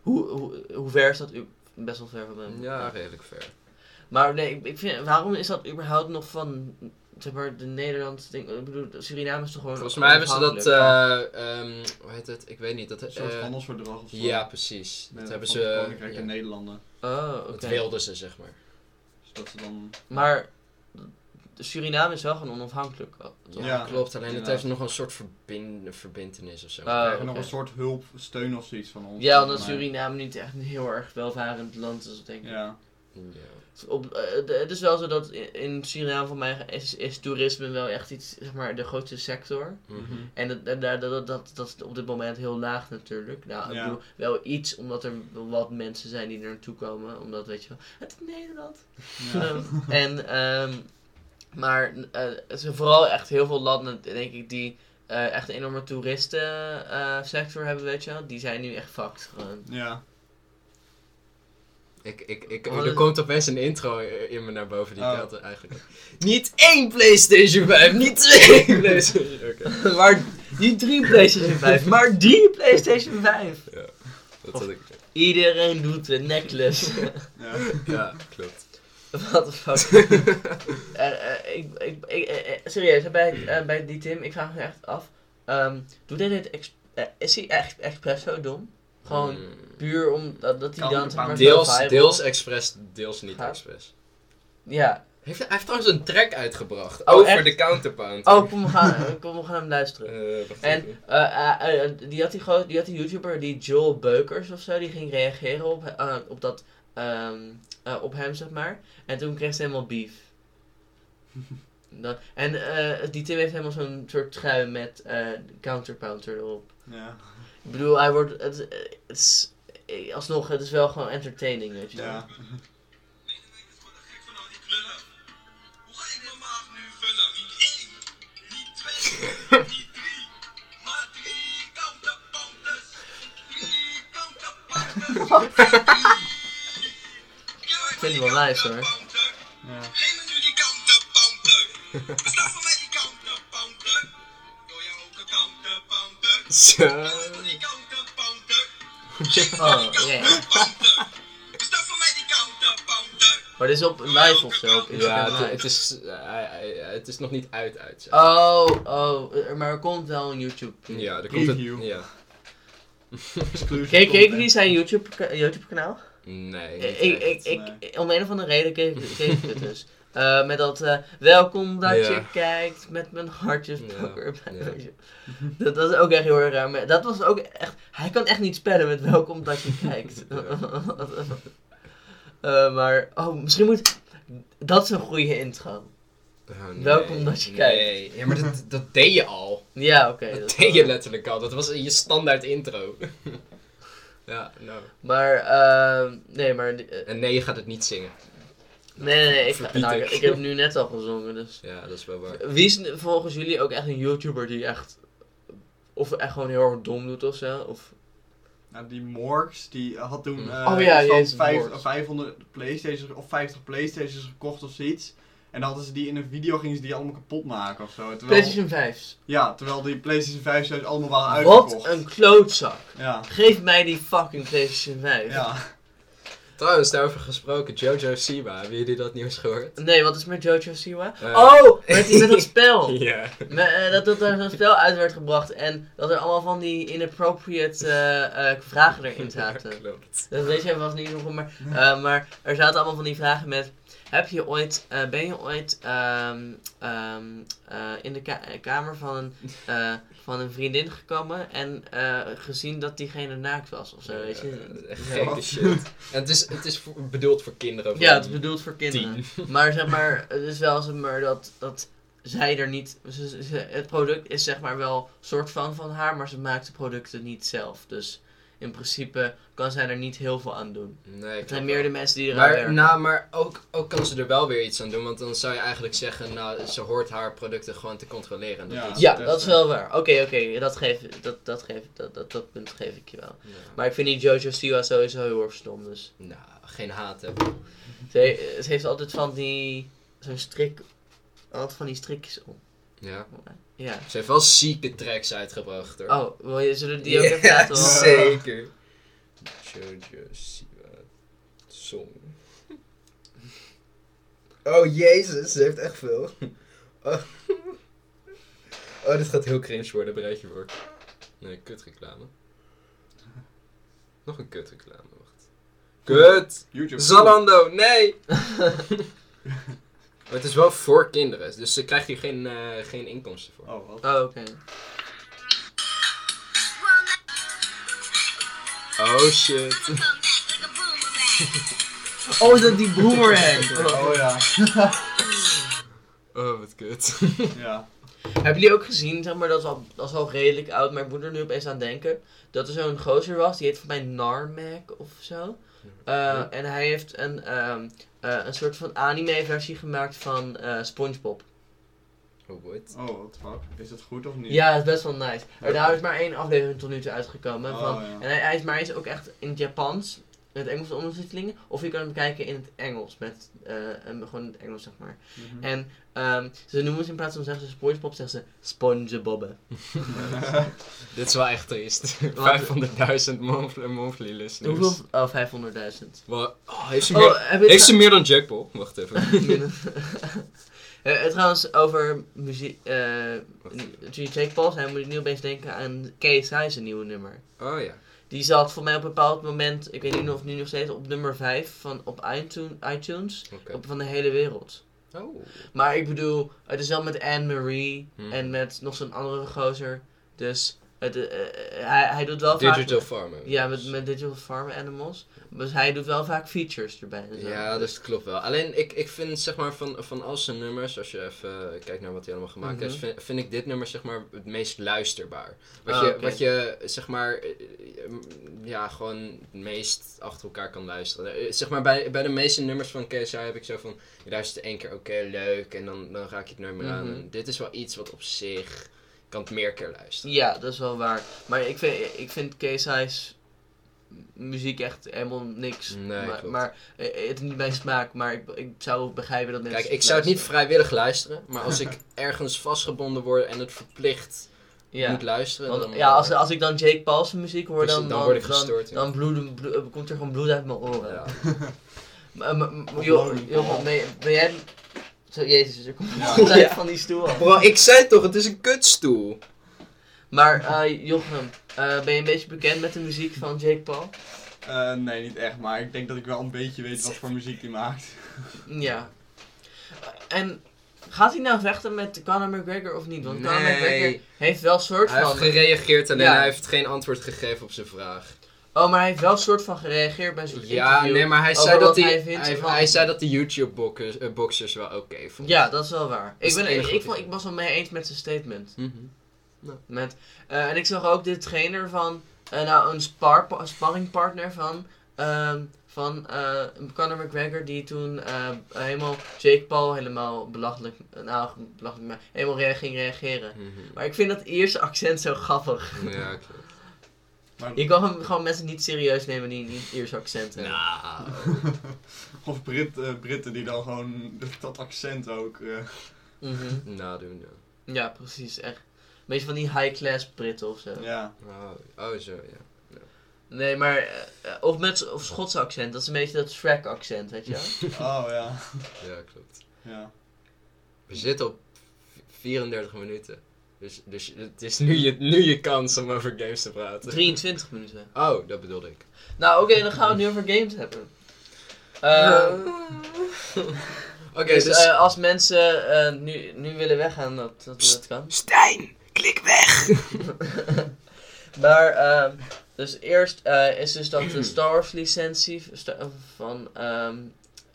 Speaker 2: Hoe, hoe, hoe ver is dat? u- Best wel ver van mij.
Speaker 1: Ja, redelijk ver.
Speaker 2: Maar nee, ik, ik vind, waarom is dat überhaupt nog van zeg maar, de Nederlandse ding? Ik bedoel, Suriname is toch gewoon.
Speaker 1: Volgens mij hebben ze dat,
Speaker 2: onafhankelijk?
Speaker 1: eh, ehm, hoe heet het? Ik weet niet. Dat,
Speaker 3: Een soort
Speaker 1: eh,
Speaker 3: handelsverdrag of zo.
Speaker 1: ja, precies.
Speaker 3: Met-
Speaker 1: Dat hebben
Speaker 3: van het
Speaker 1: ze.
Speaker 3: Koninkrijk
Speaker 1: ja,
Speaker 3: der
Speaker 1: eh,
Speaker 3: Nederlanden. Dus
Speaker 2: Oh, oké.
Speaker 1: Dat wilden ze, zeg maar.
Speaker 3: Zodat ze dan...
Speaker 2: Maar Suriname is wel gewoon onafhankelijk. oh, toch?
Speaker 3: Ja,
Speaker 1: klopt. Alleen het
Speaker 3: inderdaad.
Speaker 1: heeft nog een soort verbin- verbintenis of zo.
Speaker 2: Ah,
Speaker 3: krijgen nog
Speaker 2: oké.
Speaker 3: een soort hulp, steun of zoiets van ons.
Speaker 2: Ja, omdat
Speaker 3: volgens mij.
Speaker 2: Suriname niet echt een heel erg welvarend land is, denk ik.
Speaker 3: Ja.
Speaker 1: ja.
Speaker 2: Op, eh, de- het is wel zo dat in- in Suriname voor mij is, is toerisme wel echt iets, zeg maar, de grootste sector.
Speaker 1: Mhm.
Speaker 2: En dat, dat, dat, dat, dat, dat is op dit moment heel laag natuurlijk. Nou,
Speaker 3: Ja.
Speaker 2: ik bedoel, wel iets omdat er wat mensen zijn die er naartoe komen. Omdat, weet je wel, het is Nederland.
Speaker 3: Ja.
Speaker 2: Ehm, en, ehm, maar eh, het zijn vooral echt heel veel landen, denk ik, die eh, echt een enorme toeristensector sector hebben, weet je wel. Die zijn nu echt fucked gewoon.
Speaker 3: ja.
Speaker 1: Ik, ik, ik,
Speaker 2: Wat
Speaker 1: er
Speaker 2: is-
Speaker 1: komt opeens een intro in me naar boven die
Speaker 3: Oh.
Speaker 1: ik had eigenlijk. Niet één PlayStation 5, niet twee
Speaker 2: *laughs*
Speaker 1: PlayStation. Oké,
Speaker 2: *laughs* maar niet *laughs* drie PlayStation 5, maar drie PlayStation 5.
Speaker 1: dat had ik.
Speaker 2: Iedereen doet de necklace.
Speaker 3: ja.
Speaker 1: Ja, klopt.
Speaker 2: What the fuck. Eh, eh, ik, ik, ik, eh, eh, serieus, bij, eh, bij die Tim, ik vraag me echt af. ehm, doet hij dit ex- eh, is hij echt expres zo dom? Gewoon
Speaker 1: Mm.
Speaker 2: puur omdat dat hij
Speaker 3: Kan
Speaker 2: dan... zeg maar, zo
Speaker 1: Deels,
Speaker 2: viral-
Speaker 1: deels expres, deels niet
Speaker 2: Gaat.
Speaker 1: expres.
Speaker 2: Ja.
Speaker 1: Heeft, hij heeft trouwens een track uitgebracht
Speaker 2: Oh,
Speaker 1: over
Speaker 2: echt?
Speaker 1: de counterpound.
Speaker 2: Oh, kom, we gaan, *laughs* kom, we gaan hem luisteren.
Speaker 1: Eh, wacht
Speaker 2: En
Speaker 1: even.
Speaker 2: eh, eh, eh, die, had die, gro- die had die YouTuber, die Joel Beukers of zo, die ging reageren op, eh, op dat, ehm, eh, op hem zeg maar. En toen kreeg ze helemaal beef. Dat, en eh, die Tim heeft helemaal zo'n soort trui met eh counterpounter erop.
Speaker 3: Ja.
Speaker 2: Ik bedoel, hij wordt, het, het is, eh, alsnog, het is wel gewoon entertaining, weet je wel.
Speaker 3: Ja.
Speaker 4: Ik word er gek van al die knullen. Hoe ga ik mijn maag nu vullen? Niet één, niet twee, niet drie, maar drie counterpounders. Drie counterpounders. Ik
Speaker 2: vind het wel nice, hoor.
Speaker 3: Ja.
Speaker 4: Geef me nu die counterpounder. Besta voor mij die counterpounder. Doe jij ook een counterpounder?
Speaker 1: Zo.
Speaker 4: Doe die counterpounder.
Speaker 2: Oh, yeah.
Speaker 4: Counterpounder. Besta voor mij die counterpounder.
Speaker 2: Maar dit is op live of zo, op Instagram
Speaker 1: Ja, het,
Speaker 2: live.
Speaker 1: het is, eh, hij- hij- het is nog niet uit uit. zeg.
Speaker 2: Oh, oh, er- maar er komt wel een YouTube.
Speaker 1: ja, er komt het,
Speaker 3: Review.
Speaker 1: ja. *laughs*
Speaker 3: Exclusive
Speaker 2: Kijk,
Speaker 3: content.
Speaker 2: kijk wie zijn YouTube, YouTube kanaal?
Speaker 1: Nee. niet
Speaker 2: ik, ik,
Speaker 1: echt.
Speaker 2: ik, ik-
Speaker 1: eh,
Speaker 2: om een of andere reden keek, keek ik het dus. Eh, met dat eh, welkom dat
Speaker 1: Ja.
Speaker 2: je kijkt met mijn hartjes
Speaker 1: Ja,
Speaker 2: erbij.
Speaker 1: ja.
Speaker 2: weet je. Dat, dat is ook echt heel erg raar. Maar dat was ook echt. Hij kan echt niet spellen met welkom dat je kijkt.
Speaker 1: *laughs*
Speaker 2: *laughs*
Speaker 1: Ja.
Speaker 2: Eh, maar oh, misschien moet. Dat is een goede intro.
Speaker 1: Oh, nee.
Speaker 2: welkom dat je kijkt.
Speaker 1: Nee. Ja, maar dat, dat deed je al.
Speaker 2: *laughs* Ja, oké.
Speaker 1: Dat,
Speaker 2: dat-
Speaker 1: deed je letterlijk al. Dat was je standaard intro. *laughs* ja, nou.
Speaker 2: maar eh, nee, maar eh,
Speaker 1: En nee, je gaat het niet zingen.
Speaker 2: nee, nee, nee, ik, ga-
Speaker 1: Verbied
Speaker 2: nou,
Speaker 1: ik.
Speaker 2: ik, ik heb nu net al gezongen, dus.
Speaker 1: Ja, dat is wel waar.
Speaker 2: Wie is n- volgens jullie ook echt een YouTuber die echt. of echt gewoon heel erg dom doet ofzo? Of...
Speaker 3: Nou, die Morgs, die had toen
Speaker 1: Hmm.
Speaker 3: eh,
Speaker 2: Oh ja,
Speaker 3: iets van
Speaker 2: jezus,
Speaker 3: vijf-
Speaker 2: Morgs.
Speaker 3: 500 Playstations of 50 Playstations gekocht of zoiets. En dan hadden ze die in een video, gingen ze die allemaal kapot maken of zo. Terwijl,
Speaker 2: PlayStation 5.
Speaker 3: Ja, terwijl die PlayStation 5 zelfs allemaal waren uitgekocht.
Speaker 2: Wat een klootzak.
Speaker 3: Ja,
Speaker 2: Geef mij die fucking PlayStation 5.
Speaker 3: ja.
Speaker 1: Trouwens, daarover gesproken, Jojo Siwa. Hebben jullie dat nieuws gehoord?
Speaker 2: Nee, wat is met Jojo Siwa?
Speaker 1: Eh.
Speaker 2: oh, met, die- met dat
Speaker 1: *laughs*
Speaker 2: spel.
Speaker 1: Ja.
Speaker 2: Me- eh, dat, dat er een spel uit werd gebracht en dat er allemaal van die inappropriate eh, eh, vragen erin
Speaker 1: *laughs*
Speaker 2: zaten.
Speaker 1: Klopt.
Speaker 2: Dat weet jij vast niet nog, maar, eh, maar er zaten allemaal van die vragen met... Heb je ooit, eh, ben je ooit ehm, ehm, eh, in de ka- eh, kamer
Speaker 1: *laughs*
Speaker 2: van een, eh, van een vriendin gekomen en eh, gezien dat diegene naakt was of zo, weet je?
Speaker 1: Ja, echt gekke shit. En het is, het is voor- bedoeld voor kinderen. van
Speaker 2: Ja, het is bedoeld voor kinderen.
Speaker 1: tien. *laughs*
Speaker 2: Maar zeg maar, het is wel zeg maar dat, dat zij er niet... ze- ze- het product is zeg maar wel soort van van haar, maar ze maakt de producten niet zelf. Dus in principe kan zij er niet heel veel aan doen.
Speaker 1: Nee,
Speaker 2: Het zijn
Speaker 1: klopt
Speaker 2: meer
Speaker 1: wel.
Speaker 2: de mensen die eraan
Speaker 1: Maar,
Speaker 2: werken.
Speaker 1: nou, maar ook, ook kan ze er wel weer iets aan doen, want dan zou je eigenlijk zeggen, nou, ze hoort haar producten gewoon te controleren. Dat
Speaker 3: Ja.
Speaker 1: doet ze.
Speaker 2: Ja,
Speaker 3: Dus,
Speaker 2: dat is
Speaker 3: eh,
Speaker 2: wel waar. Oké, oké, dat geef dat, dat geef dat, dat, dat punt geef ik je wel. Maar ik vind die Jojo Siwa sowieso heel erg stom, dus.
Speaker 1: Nou, geen haat hebben.
Speaker 2: Ze, he- ze heeft altijd van die, zo'n strik, altijd van die strikjes om.
Speaker 1: Ja.
Speaker 2: Ja.
Speaker 1: Ze heeft wel zieke tracks uitgebracht hoor.
Speaker 2: Oh, wil je, zullen we die ook
Speaker 1: Ja,
Speaker 2: even
Speaker 1: *laughs*
Speaker 2: laten horen?
Speaker 1: Zeker. Jojo Siwa Song. Oh jezus, ze heeft echt veel. Oh, oh dit gaat heel cringe worden, bereid je voor. Nee, kutreclame. Nog een kutreclame, wacht. Kut!
Speaker 3: YouTube.
Speaker 1: Zalando, nee! *laughs* Maar het is wel voor kinderen, dus ze krijgt hier geen, eh, geen inkomsten voor.
Speaker 3: Oh, wat?
Speaker 2: Oh, oké.
Speaker 1: Oh shit.
Speaker 2: Oh, is dat die boomerang?
Speaker 3: Oh ja.
Speaker 1: Oh, wat kut.
Speaker 3: ja.
Speaker 2: Hebben jullie ook gezien, zeg maar, dat is, al, dat is al redelijk oud, maar ik moet er nu opeens aan denken, dat er zo'n gozer was, die heet van mij Narmac of zo. Eh,
Speaker 1: Ja.
Speaker 2: En hij heeft een, ehm, eh, een soort van anime versie gemaakt van eh, Spongebob.
Speaker 1: Oh, what?
Speaker 3: Oh, what the fuck. Is het goed of niet?
Speaker 2: Ja, dat is best wel nice. Maar daar is maar één aflevering tot nu toe uitgekomen.
Speaker 3: Oh,
Speaker 2: van,
Speaker 3: ja.
Speaker 2: En hij, hij is, maar hij is ook echt in het Japans, met Engelse ondertitelingen, of je kan hem kijken in het Engels, met, eh, en gewoon in het Engels zeg maar.
Speaker 3: Mhm.
Speaker 2: En ehm, ze noemen ze in plaats van zeggen ze SpongeBob, zeggen ze SpongeBobbe.
Speaker 1: Dit is wel echt *laughs* triest. 500.000 monthly, monthly listeners.
Speaker 2: Hoeveel? Oh, 500.000.
Speaker 1: Wel, oh, heeft ze, meer,
Speaker 2: Oh, heb je
Speaker 1: heeft ze
Speaker 2: het
Speaker 1: meer dan Jackpot? Wacht even.
Speaker 2: *laughs* Eh, eh, Trouwens, over muziek. eh
Speaker 1: Wat?
Speaker 2: Jake Paul zijn, moet ik nu opeens denken aan KSI zijn nieuwe nummer.
Speaker 1: Oh ja.
Speaker 2: Die zat voor mij op een bepaald moment, ik weet niet of nu nog steeds, op nummer 5 van, op iTunes, iTunes
Speaker 1: Oké.
Speaker 2: op, van de hele wereld.
Speaker 1: Oh.
Speaker 2: Maar ik bedoel, het is wel met Anne-Marie
Speaker 1: Hmm.
Speaker 2: en met nog zo'n andere gozer. Dus het, eh, eh, hij, hij doet wel vaak...
Speaker 1: Digital Farming.
Speaker 2: Ja, met, met Digital Farm Animals. Dus hij doet wel vaak features erbij. en zo.
Speaker 1: Ja, dus dat klopt wel. Alleen ik, ik vind zeg maar van, van al zijn nummers, als je even kijkt naar wat hij allemaal gemaakt heeft,
Speaker 2: Mhm.
Speaker 1: vind, vind ik dit nummer zeg maar het meest luisterbaar. Wat,
Speaker 2: Ah,
Speaker 1: je,
Speaker 2: oké.
Speaker 1: wat je zeg maar eh, eh, ja, gewoon het meest achter elkaar kan luisteren. Eh, Zeg maar bij, bij de meeste nummers van KSI heb ik zo van, je luistert één keer oké, leuk en dan, dan raak je het nummer aan.
Speaker 2: Mhm.
Speaker 1: En dit is wel iets wat op zich je kan het meer keer luisteren.
Speaker 2: Ja, dat is wel waar. Maar ik vind, ik vind KSI's muziek echt helemaal niks.
Speaker 1: Nee,
Speaker 2: maar,
Speaker 1: klopt.
Speaker 2: maar eh, het is niet mijn smaak, maar ik, ik zou begrijpen dat mensen.
Speaker 1: Kijk, ik zou het niet
Speaker 2: luisteren.
Speaker 1: vrijwillig luisteren, maar als
Speaker 2: *laughs*
Speaker 1: ik ergens vastgebonden word en het verplicht moet
Speaker 2: Ja.
Speaker 1: luisteren,
Speaker 2: Want,
Speaker 1: dan...
Speaker 2: ja, als, als ik dan Jake Paul's muziek hoor,
Speaker 1: Precies,
Speaker 2: dan,
Speaker 1: dan word ik gestoord, ja.
Speaker 2: Dan, bloeden- bloe- eh, komt er gewoon bloed uit mijn oren.
Speaker 1: Ja.
Speaker 2: Maar- maar- maar-
Speaker 3: Of
Speaker 2: joh,
Speaker 3: lonely
Speaker 2: joh,
Speaker 3: Paul.
Speaker 2: ben, ben jij. Zo, Jezus, er komt
Speaker 3: Ja.
Speaker 2: bloed uit
Speaker 1: Ja.
Speaker 2: van die stoel. af.
Speaker 1: Bro, ik zei toch, het is een kutstoel.
Speaker 2: Maar eh Jochem, eh, ben je een beetje bekend met de muziek van Jake Paul?
Speaker 3: Eh, nee, niet echt, maar ik denk dat ik wel een beetje weet wat voor muziek die maakt. *laughs*
Speaker 2: Ja. En gaat hij nou vechten met Conor McGregor of niet? Want Conor
Speaker 1: Nee.
Speaker 2: McGregor heeft wel soort
Speaker 1: Hij heeft
Speaker 2: van...
Speaker 1: gereageerd, alleen
Speaker 2: Ja.
Speaker 1: hij heeft geen antwoord gegeven op zijn vraag.
Speaker 2: Oh, maar hij heeft wel soort van gereageerd bij zijn
Speaker 1: Ja,
Speaker 2: interview.
Speaker 1: nee, maar hij
Speaker 2: over
Speaker 1: zei dat
Speaker 2: wat
Speaker 1: hij,
Speaker 2: hij
Speaker 1: hij,
Speaker 2: vindt van-
Speaker 1: hij zei dat de YouTube-boxers eh, wel oké vonden.
Speaker 2: Ja, dat is wel waar.
Speaker 1: is
Speaker 2: Ik, ben,
Speaker 1: het
Speaker 2: ik,
Speaker 1: enige wat
Speaker 2: ik, vond-
Speaker 1: ik-
Speaker 2: ik was wel mee eens met zijn statement.
Speaker 1: Mhm.
Speaker 2: Met, eh, en ik zag ook de trainer van... eh, nou, een spar, een sparringpartner van... ehm, van eh, Conor McGregor die toen eh, helemaal Jake Paul helemaal belachelijk, nou belachelijk, maar helemaal re- ging reageren.
Speaker 1: Mhm.
Speaker 2: Maar ik vind dat Ierse accent zo grappig.
Speaker 1: Ja, klopt.
Speaker 3: Maar,
Speaker 2: Je kan hem- gewoon mensen niet serieus nemen die niet Iers accent hebben.
Speaker 1: Nou,
Speaker 3: of Brit, eh, Britten die dan gewoon dat accent ook. eh,
Speaker 2: Mhm.
Speaker 1: nadoen, ja.
Speaker 2: Ja, precies, echt. Beetje van die high-class Britten of zo.
Speaker 3: ja.
Speaker 1: Oh, oh, zo, ja.
Speaker 2: Nee, maar. eh, eh, of met of Schots accent, dat is een beetje dat Shrek accent, weet
Speaker 1: *laughs*
Speaker 2: je wel?
Speaker 3: Oh ja.
Speaker 1: Ja, klopt.
Speaker 3: Ja.
Speaker 1: We zitten op 34 minuten. Dus, dus het is nu je, nu je kans om over games te praten.
Speaker 2: 23 minuten.
Speaker 1: Oh, dat bedoelde ik.
Speaker 2: Nou, oké, dan gaan we het nu over games hebben. Eh,
Speaker 1: Oké,
Speaker 2: dus
Speaker 1: dus...
Speaker 2: eh, als mensen eh, nu, nu willen weggaan, dat, dat, dat kan.
Speaker 1: Stijn, klik weg!
Speaker 2: Maar, ehm, dus eerst eh, is dus
Speaker 1: Mm.
Speaker 2: dat de Star Wars licentie sta- van, ehm,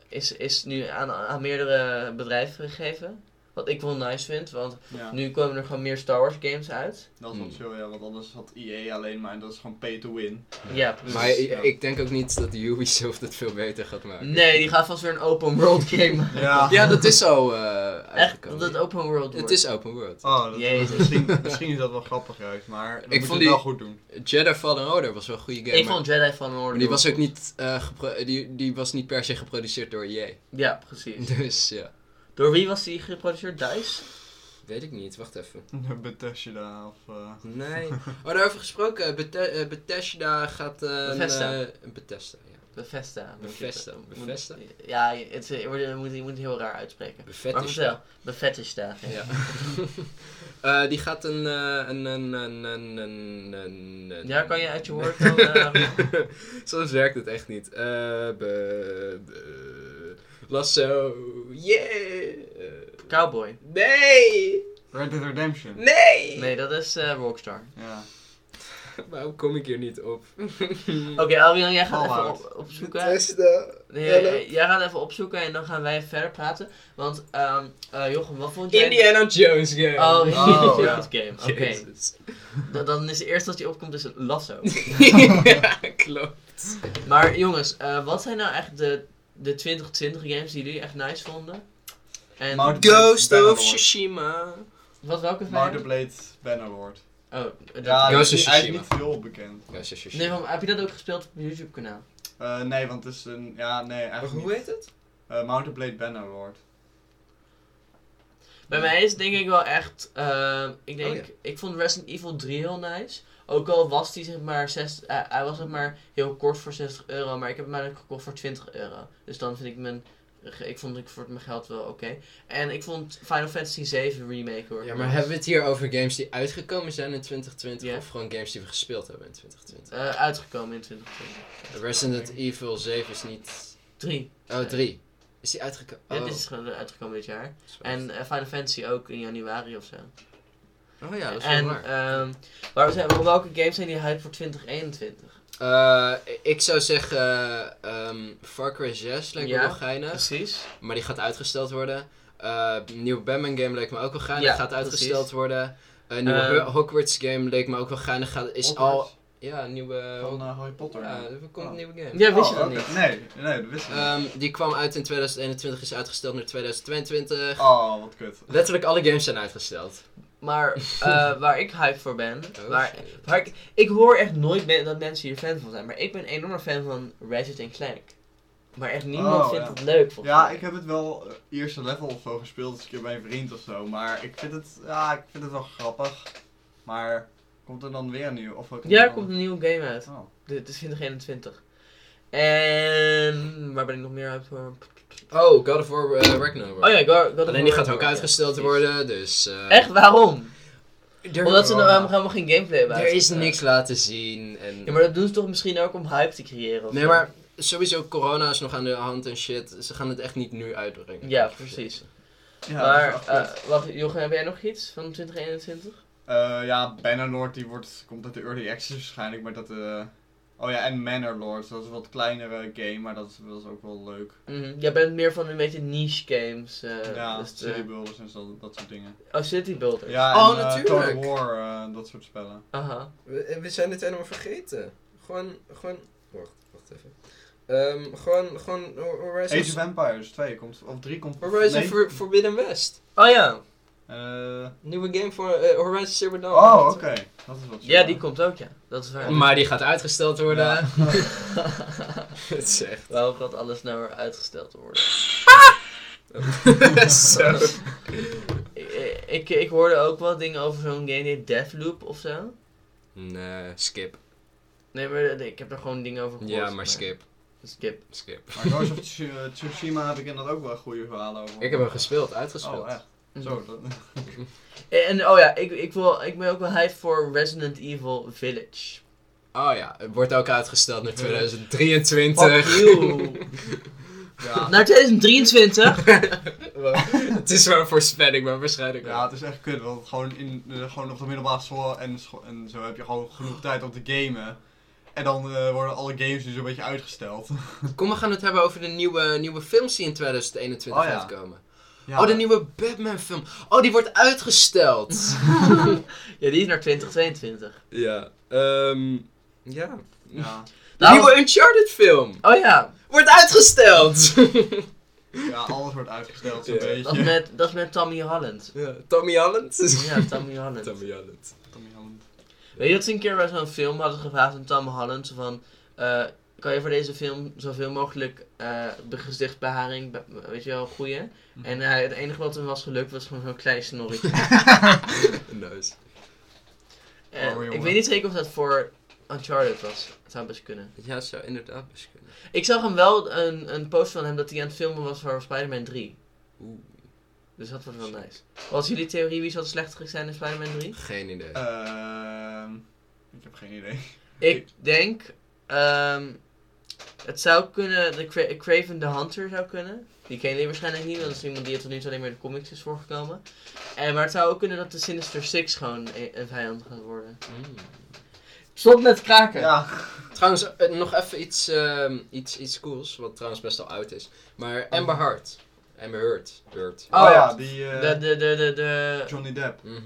Speaker 2: is, is nu aan, aan meerdere bedrijven gegeven. Wat ik wel nice vind, want
Speaker 3: ja.
Speaker 2: nu komen er gewoon meer Star Wars games uit.
Speaker 3: Dat is wel
Speaker 1: Hmm.
Speaker 3: chill, ja, want anders had EA alleen maar en dat is gewoon pay to win.
Speaker 2: Ja, precies.
Speaker 1: Maar
Speaker 3: Dus,
Speaker 1: i-
Speaker 3: ja.
Speaker 1: ik denk ook niet dat Ubisoft het veel beter gaat maken.
Speaker 2: Nee, die gaat vast weer een open
Speaker 1: *laughs*
Speaker 2: world game maken.
Speaker 3: *laughs* Ja.
Speaker 1: Ja, dat is zo eh
Speaker 2: Echt,
Speaker 1: uitgekomen.
Speaker 2: dat het open world wordt.
Speaker 1: Het is open world.
Speaker 3: Oh, dat,
Speaker 2: Jezus.
Speaker 3: misschien, misschien is dat wel grappig juist, maar ik
Speaker 1: vond
Speaker 3: moet het
Speaker 1: die-
Speaker 3: wel goed doen. *laughs*
Speaker 1: Jedi Fallen Order was wel een goede game.
Speaker 2: ik
Speaker 1: maar-
Speaker 2: vond Jedi van
Speaker 1: maar
Speaker 2: Order.
Speaker 1: die was ook niet, eh, gepro- die, die was niet per se geproduceerd door EA.
Speaker 2: Ja, precies.
Speaker 1: *laughs* Dus ja,
Speaker 2: Door wie was die geproduceerd? DICE?
Speaker 1: weet ik niet. Wacht even.
Speaker 3: Bethesda of... eh,
Speaker 1: Nee. *laughs* Oh, daarover gesproken. Bethe- eh, Bethesda gaat... eh, een,
Speaker 2: Bethesda.
Speaker 1: eh, een Bethesda, ja.
Speaker 2: Bethesda. moet je-
Speaker 1: Bethesda,
Speaker 2: moet-
Speaker 1: Bethesda?
Speaker 2: Ja, het, je, wordt- je moet, je moet het heel raar uitspreken. Maar
Speaker 1: Bethesda.
Speaker 2: vertel, Bethesda.
Speaker 1: Ja. *laughs* Eh, die gaat een, eh, een, een, een, een, een, een- een-
Speaker 2: Ja, kan je uit je
Speaker 3: *laughs*
Speaker 2: woord dan... eh,
Speaker 1: *laughs* Soms werkt het echt niet. Eh, be- eh, was zo. Yeah! Eh,
Speaker 2: Cowboy.
Speaker 1: Nee!
Speaker 3: Red Dead Redemption.
Speaker 1: Nee!
Speaker 2: Nee, dat is eh, Rockstar.
Speaker 3: Ja.
Speaker 1: Waarom kom ik hier niet op?
Speaker 2: Oké, Albion, jij gaat
Speaker 3: Fallout.
Speaker 2: even op, opzoeken.
Speaker 1: Bethesda.
Speaker 2: Nee,
Speaker 1: Hello.
Speaker 2: eh, jij gaat even opzoeken en dan gaan wij verder praten. Want, ehm eh, Jochem, wat vond jij...
Speaker 1: Indiana Jones game.
Speaker 2: Oh,
Speaker 3: Oh, ja.
Speaker 2: Jones game. Oké.
Speaker 1: Jezus.
Speaker 2: Dan- Dan is het eerste dat je opkomt is een lasso.
Speaker 1: ja, klopt.
Speaker 2: Maar jongens, eh, wat zijn nou echt de, de 2020 games die jullie echt nice vonden? En
Speaker 3: Mount-
Speaker 1: Ghost of
Speaker 3: Bannerlord.
Speaker 1: Tsushima.
Speaker 2: wat welke
Speaker 3: Mount
Speaker 2: vijf?
Speaker 3: of Blade Bannerlord.
Speaker 2: Oh, dat-
Speaker 3: Ja,
Speaker 1: Ghost
Speaker 3: dat
Speaker 1: of
Speaker 3: is, hij is
Speaker 1: Tsushima.
Speaker 3: niet veel bekend.
Speaker 1: Ghost of Tsushima.
Speaker 2: Nee, want heb je dat ook gespeeld op je YouTube kanaal?
Speaker 3: Eh, nee, want het is een... Ja, nee, eigenlijk
Speaker 1: hoe
Speaker 3: niet.
Speaker 1: heet het?
Speaker 3: Eh, Mount of Blade Bannerlord.
Speaker 2: Bij mij is het denk ik wel echt. ehm, ik denk,
Speaker 1: Oh,
Speaker 2: ik vond Resident Evil 3 heel nice. Ook al was die zeg maar 6. eh, hij was zeg maar heel kort voor 60 euro, maar ik heb hem eigenlijk gekocht voor 20 euro. Dus dan vind ik mijn. Ik vond ik voor mijn geld wel oké. En ik vond Final Fantasy 7 remake hoor.
Speaker 1: Ja, maar hebben we het hier over games die uitgekomen zijn in 2020
Speaker 2: Ja.
Speaker 1: of gewoon games die we gespeeld hebben in 2020?
Speaker 2: Eh, uitgekomen in 2020.
Speaker 1: Resident Evil 7 is niet.
Speaker 2: 3.
Speaker 1: Oh, 3. Is die uitgekomen?
Speaker 2: Ja,
Speaker 1: Oh,
Speaker 2: dit is gewoon uitgekomen dit jaar.
Speaker 1: sorry.
Speaker 2: En eh, Final Fantasy ook in januari of zo.
Speaker 1: Oh ja, dat is wel
Speaker 2: en
Speaker 1: waar.
Speaker 2: ehm, waar we zijn, welke games zijn die hype voor 2021?
Speaker 1: Eh, ik zou zeggen, ehm, Far Cry 6 lijkt
Speaker 2: Ja.
Speaker 1: me wel geinig,
Speaker 2: Precies.
Speaker 1: maar die gaat uitgesteld worden. Eh nieuwe Batman game leek me ook wel geinig,
Speaker 2: Ja,
Speaker 1: gaat uitgesteld worden. Een nieuwe
Speaker 2: Ehm.
Speaker 1: Ho- Hogwarts game leek me ook wel geinig, gaat, is al...
Speaker 3: Hogwarts
Speaker 1: Ja, een nieuwe...
Speaker 3: Van eh, Harry Potter.
Speaker 1: ja, er komt
Speaker 3: Oh.
Speaker 1: een nieuwe game.
Speaker 2: Ja, wist je
Speaker 3: Oh,
Speaker 2: dat
Speaker 3: oké.
Speaker 2: niet?
Speaker 3: Nee, nee, dat wist ik niet.
Speaker 1: Ehm, die kwam uit in 2021, is uitgesteld naar 2022.
Speaker 3: Oh, wat kut.
Speaker 1: Letterlijk alle games zijn uitgesteld.
Speaker 3: *laughs*
Speaker 2: Maar eh, waar ik hype voor ben,
Speaker 1: Oh,
Speaker 2: waar,
Speaker 1: shit.
Speaker 2: waar ik, ik hoor echt nooit me- dat mensen hier fan van zijn, maar ik ben een enorme fan van Ratchet en Clank. Maar echt niemand
Speaker 3: Oh,
Speaker 2: vindt
Speaker 3: ja.
Speaker 2: het leuk volgens
Speaker 3: Ja,
Speaker 2: mij.
Speaker 3: ik heb het wel eh, eerste level of zo gespeeld, dus een keer bij een vriend of zo. Maar ik vind het, ja, ik vind het wel grappig. Maar komt er dan weer een nieuw? Of
Speaker 2: Ja, er komt een nieuwe game uit.
Speaker 3: Oh.
Speaker 2: Dit is 2021. En waar ben ik nog meer hype voor?
Speaker 1: Oh, God of War eh, Ragnarok.
Speaker 2: Oh ja, God, God of
Speaker 1: Alleen die
Speaker 2: War
Speaker 1: gaat ook
Speaker 2: ja,
Speaker 1: uitgesteld
Speaker 2: precies.
Speaker 1: worden, dus... eh,
Speaker 2: Echt, waarom?
Speaker 1: er-
Speaker 2: Omdat ze nou
Speaker 3: Oh.
Speaker 2: helemaal- helemaal geen gameplay hebben.
Speaker 1: Er is
Speaker 2: uitgebracht.
Speaker 1: niks laten zien en...
Speaker 2: Ja, maar dat doen ze toch misschien ook om hype te creëren? of
Speaker 1: Nee,
Speaker 2: zo?
Speaker 1: maar sowieso corona is nog aan de hand en shit. Ze gaan het echt niet nu uitbrengen.
Speaker 2: Ja, precies.
Speaker 3: Ja,
Speaker 2: maar,
Speaker 3: dat is wel kut.
Speaker 2: eh, wacht, Jochem, heb jij nog iets van 2021?
Speaker 3: Eh, ja, Bannerlord die wordt, komt uit de Early Access waarschijnlijk, maar dat... eh oh ja, en Manorlord, dat is een wat kleinere game, maar dat is, dat is ook wel leuk.
Speaker 2: Mhm, Jij bent meer van een beetje niche games. eh,
Speaker 3: ja,
Speaker 2: dus de-
Speaker 3: City Builders en zo, dat soort dingen.
Speaker 2: Oh, City Builder.
Speaker 3: Ja,
Speaker 1: Oh,
Speaker 3: en, eh,
Speaker 1: natuurlijk.
Speaker 3: Total War, eh, dat soort spellen.
Speaker 2: Aha.
Speaker 1: We, we zijn het helemaal vergeten. Gewoon, gewoon... Wacht, wacht even. Ehm, gewoon, gewoon Horizon...
Speaker 3: Age of Empires 2 komt, of 3 komt...
Speaker 1: Horizon
Speaker 3: nee,
Speaker 1: For- Forbidden West.
Speaker 2: Oh ja.
Speaker 3: eh,
Speaker 1: Nieuwe game voor eh, Horizon Zero Dawn.
Speaker 3: oh, oké. Dat is wat
Speaker 2: Ja, die komt ook, ja. Dat is waar.
Speaker 1: Maar die gaat uitgesteld worden. *laughs*
Speaker 3: Ja.
Speaker 1: Het is echt...
Speaker 2: *laughs* Waarom gaat alles nou weer uitgesteld worden?
Speaker 1: *laughs* Zo.
Speaker 2: Ik, ik, ik hoorde ook wel dingen over zo'n game die Deathloop of zo.
Speaker 1: Nee, skip.
Speaker 2: Nee, maar eh, ik heb er gewoon dingen over gehoord.
Speaker 1: Ja, maar skip.
Speaker 2: Skip.
Speaker 1: Skip.
Speaker 3: Maar Ghost of Tsu- eh, Tsushima heb ik inderdaad ook wel goede verhalen over.
Speaker 1: Ik heb hem gespeeld, uitgespeeld.
Speaker 3: Oh, echt?
Speaker 2: Mm.
Speaker 3: Zo, dat...
Speaker 2: Mhm. En, en- oh ja, ik, ik, wil, ik ben ook wel hype voor Resident Evil Village.
Speaker 1: Oh ja, het wordt ook uitgesteld naar
Speaker 2: Fuck
Speaker 1: 2023.
Speaker 2: you.
Speaker 3: Ja.
Speaker 2: Naar 2023?
Speaker 1: *laughs* het is wel een voorspelling, maar waarschijnlijk
Speaker 3: ja, het is echt kut, want gewoon, in, eh, gewoon op de middelbare school en, scho- en zo heb je gewoon genoeg tijd om te gamen. En dan eh, worden alle games dus een beetje uitgesteld.
Speaker 1: Kom, we gaan het hebben over de nieuwe, nieuwe films die in 2021
Speaker 3: Oh ja.
Speaker 1: uitkomen.
Speaker 3: Ja,
Speaker 1: Oh, de nieuwe Batman film. Oh, die wordt uitgesteld.
Speaker 2: *laughs* ja, die is naar 2022.
Speaker 1: *laughs* ja, ehm ja.
Speaker 3: Ja,
Speaker 1: De nieuwe Uncharted film
Speaker 2: Oh ja,
Speaker 1: wordt uitgesteld.
Speaker 3: ja, alles wordt uitgesteld zo'n
Speaker 1: Ja.
Speaker 2: dat is,
Speaker 3: beetje.
Speaker 2: met, dat is met Tommy Holland.
Speaker 1: *laughs* ja, Tommy Holland. *laughs*
Speaker 2: Ja, Tommy Holland.
Speaker 1: Holland.
Speaker 3: *laughs* Tommy Holland.
Speaker 2: Weet je dat ze een keer bij zo'n film hadden gevraagd aan Tom Holland? zo Van, eh, kan je voor deze film zoveel mogelijk eh de gezichtsbeharing, be- weet je wel, goeie? En eh, het enige wat hem was gelukt was gewoon zo'n klein snorretje.
Speaker 1: *laughs* Nice.
Speaker 2: Eh,
Speaker 3: Oh, jongen.
Speaker 2: ik weet niet zeker of dat voor Uncharted was. Het zou best kunnen.
Speaker 1: Ja, zou inderdaad best kunnen.
Speaker 2: Ik zag hem wel een, een post van hem dat hij aan het filmen was voor Spider-Man 3.
Speaker 1: Oeh.
Speaker 2: Dus dat wordt wel nice. Als jullie theorie wie zal de slechterik zijn in Spider-Man 3?
Speaker 1: Geen idee.
Speaker 3: Ehm, ik heb geen idee.
Speaker 2: Ik denk. ehm, het zou kunnen. De Cra- Craven the Hunter zou kunnen. Die kennen jullie waarschijnlijk niet, want dat is iemand die er tot nu toe alleen maar in de comics is voorgekomen. En, maar het zou ook kunnen dat de Sinister Six gewoon e- een vijand gaat worden.
Speaker 3: Eh.
Speaker 2: Stop met kraken!
Speaker 3: Ja.
Speaker 1: Mm. Trouwens, eh, nog even iets, ehm, iets, iets cools, wat trouwens best wel oud is. Maar Amber Heard. Amber Heard. Heard.
Speaker 2: Oh,
Speaker 3: Oh, ja, die eh,
Speaker 2: De, de, de, de, de...
Speaker 3: Johnny Depp.
Speaker 1: Mhm.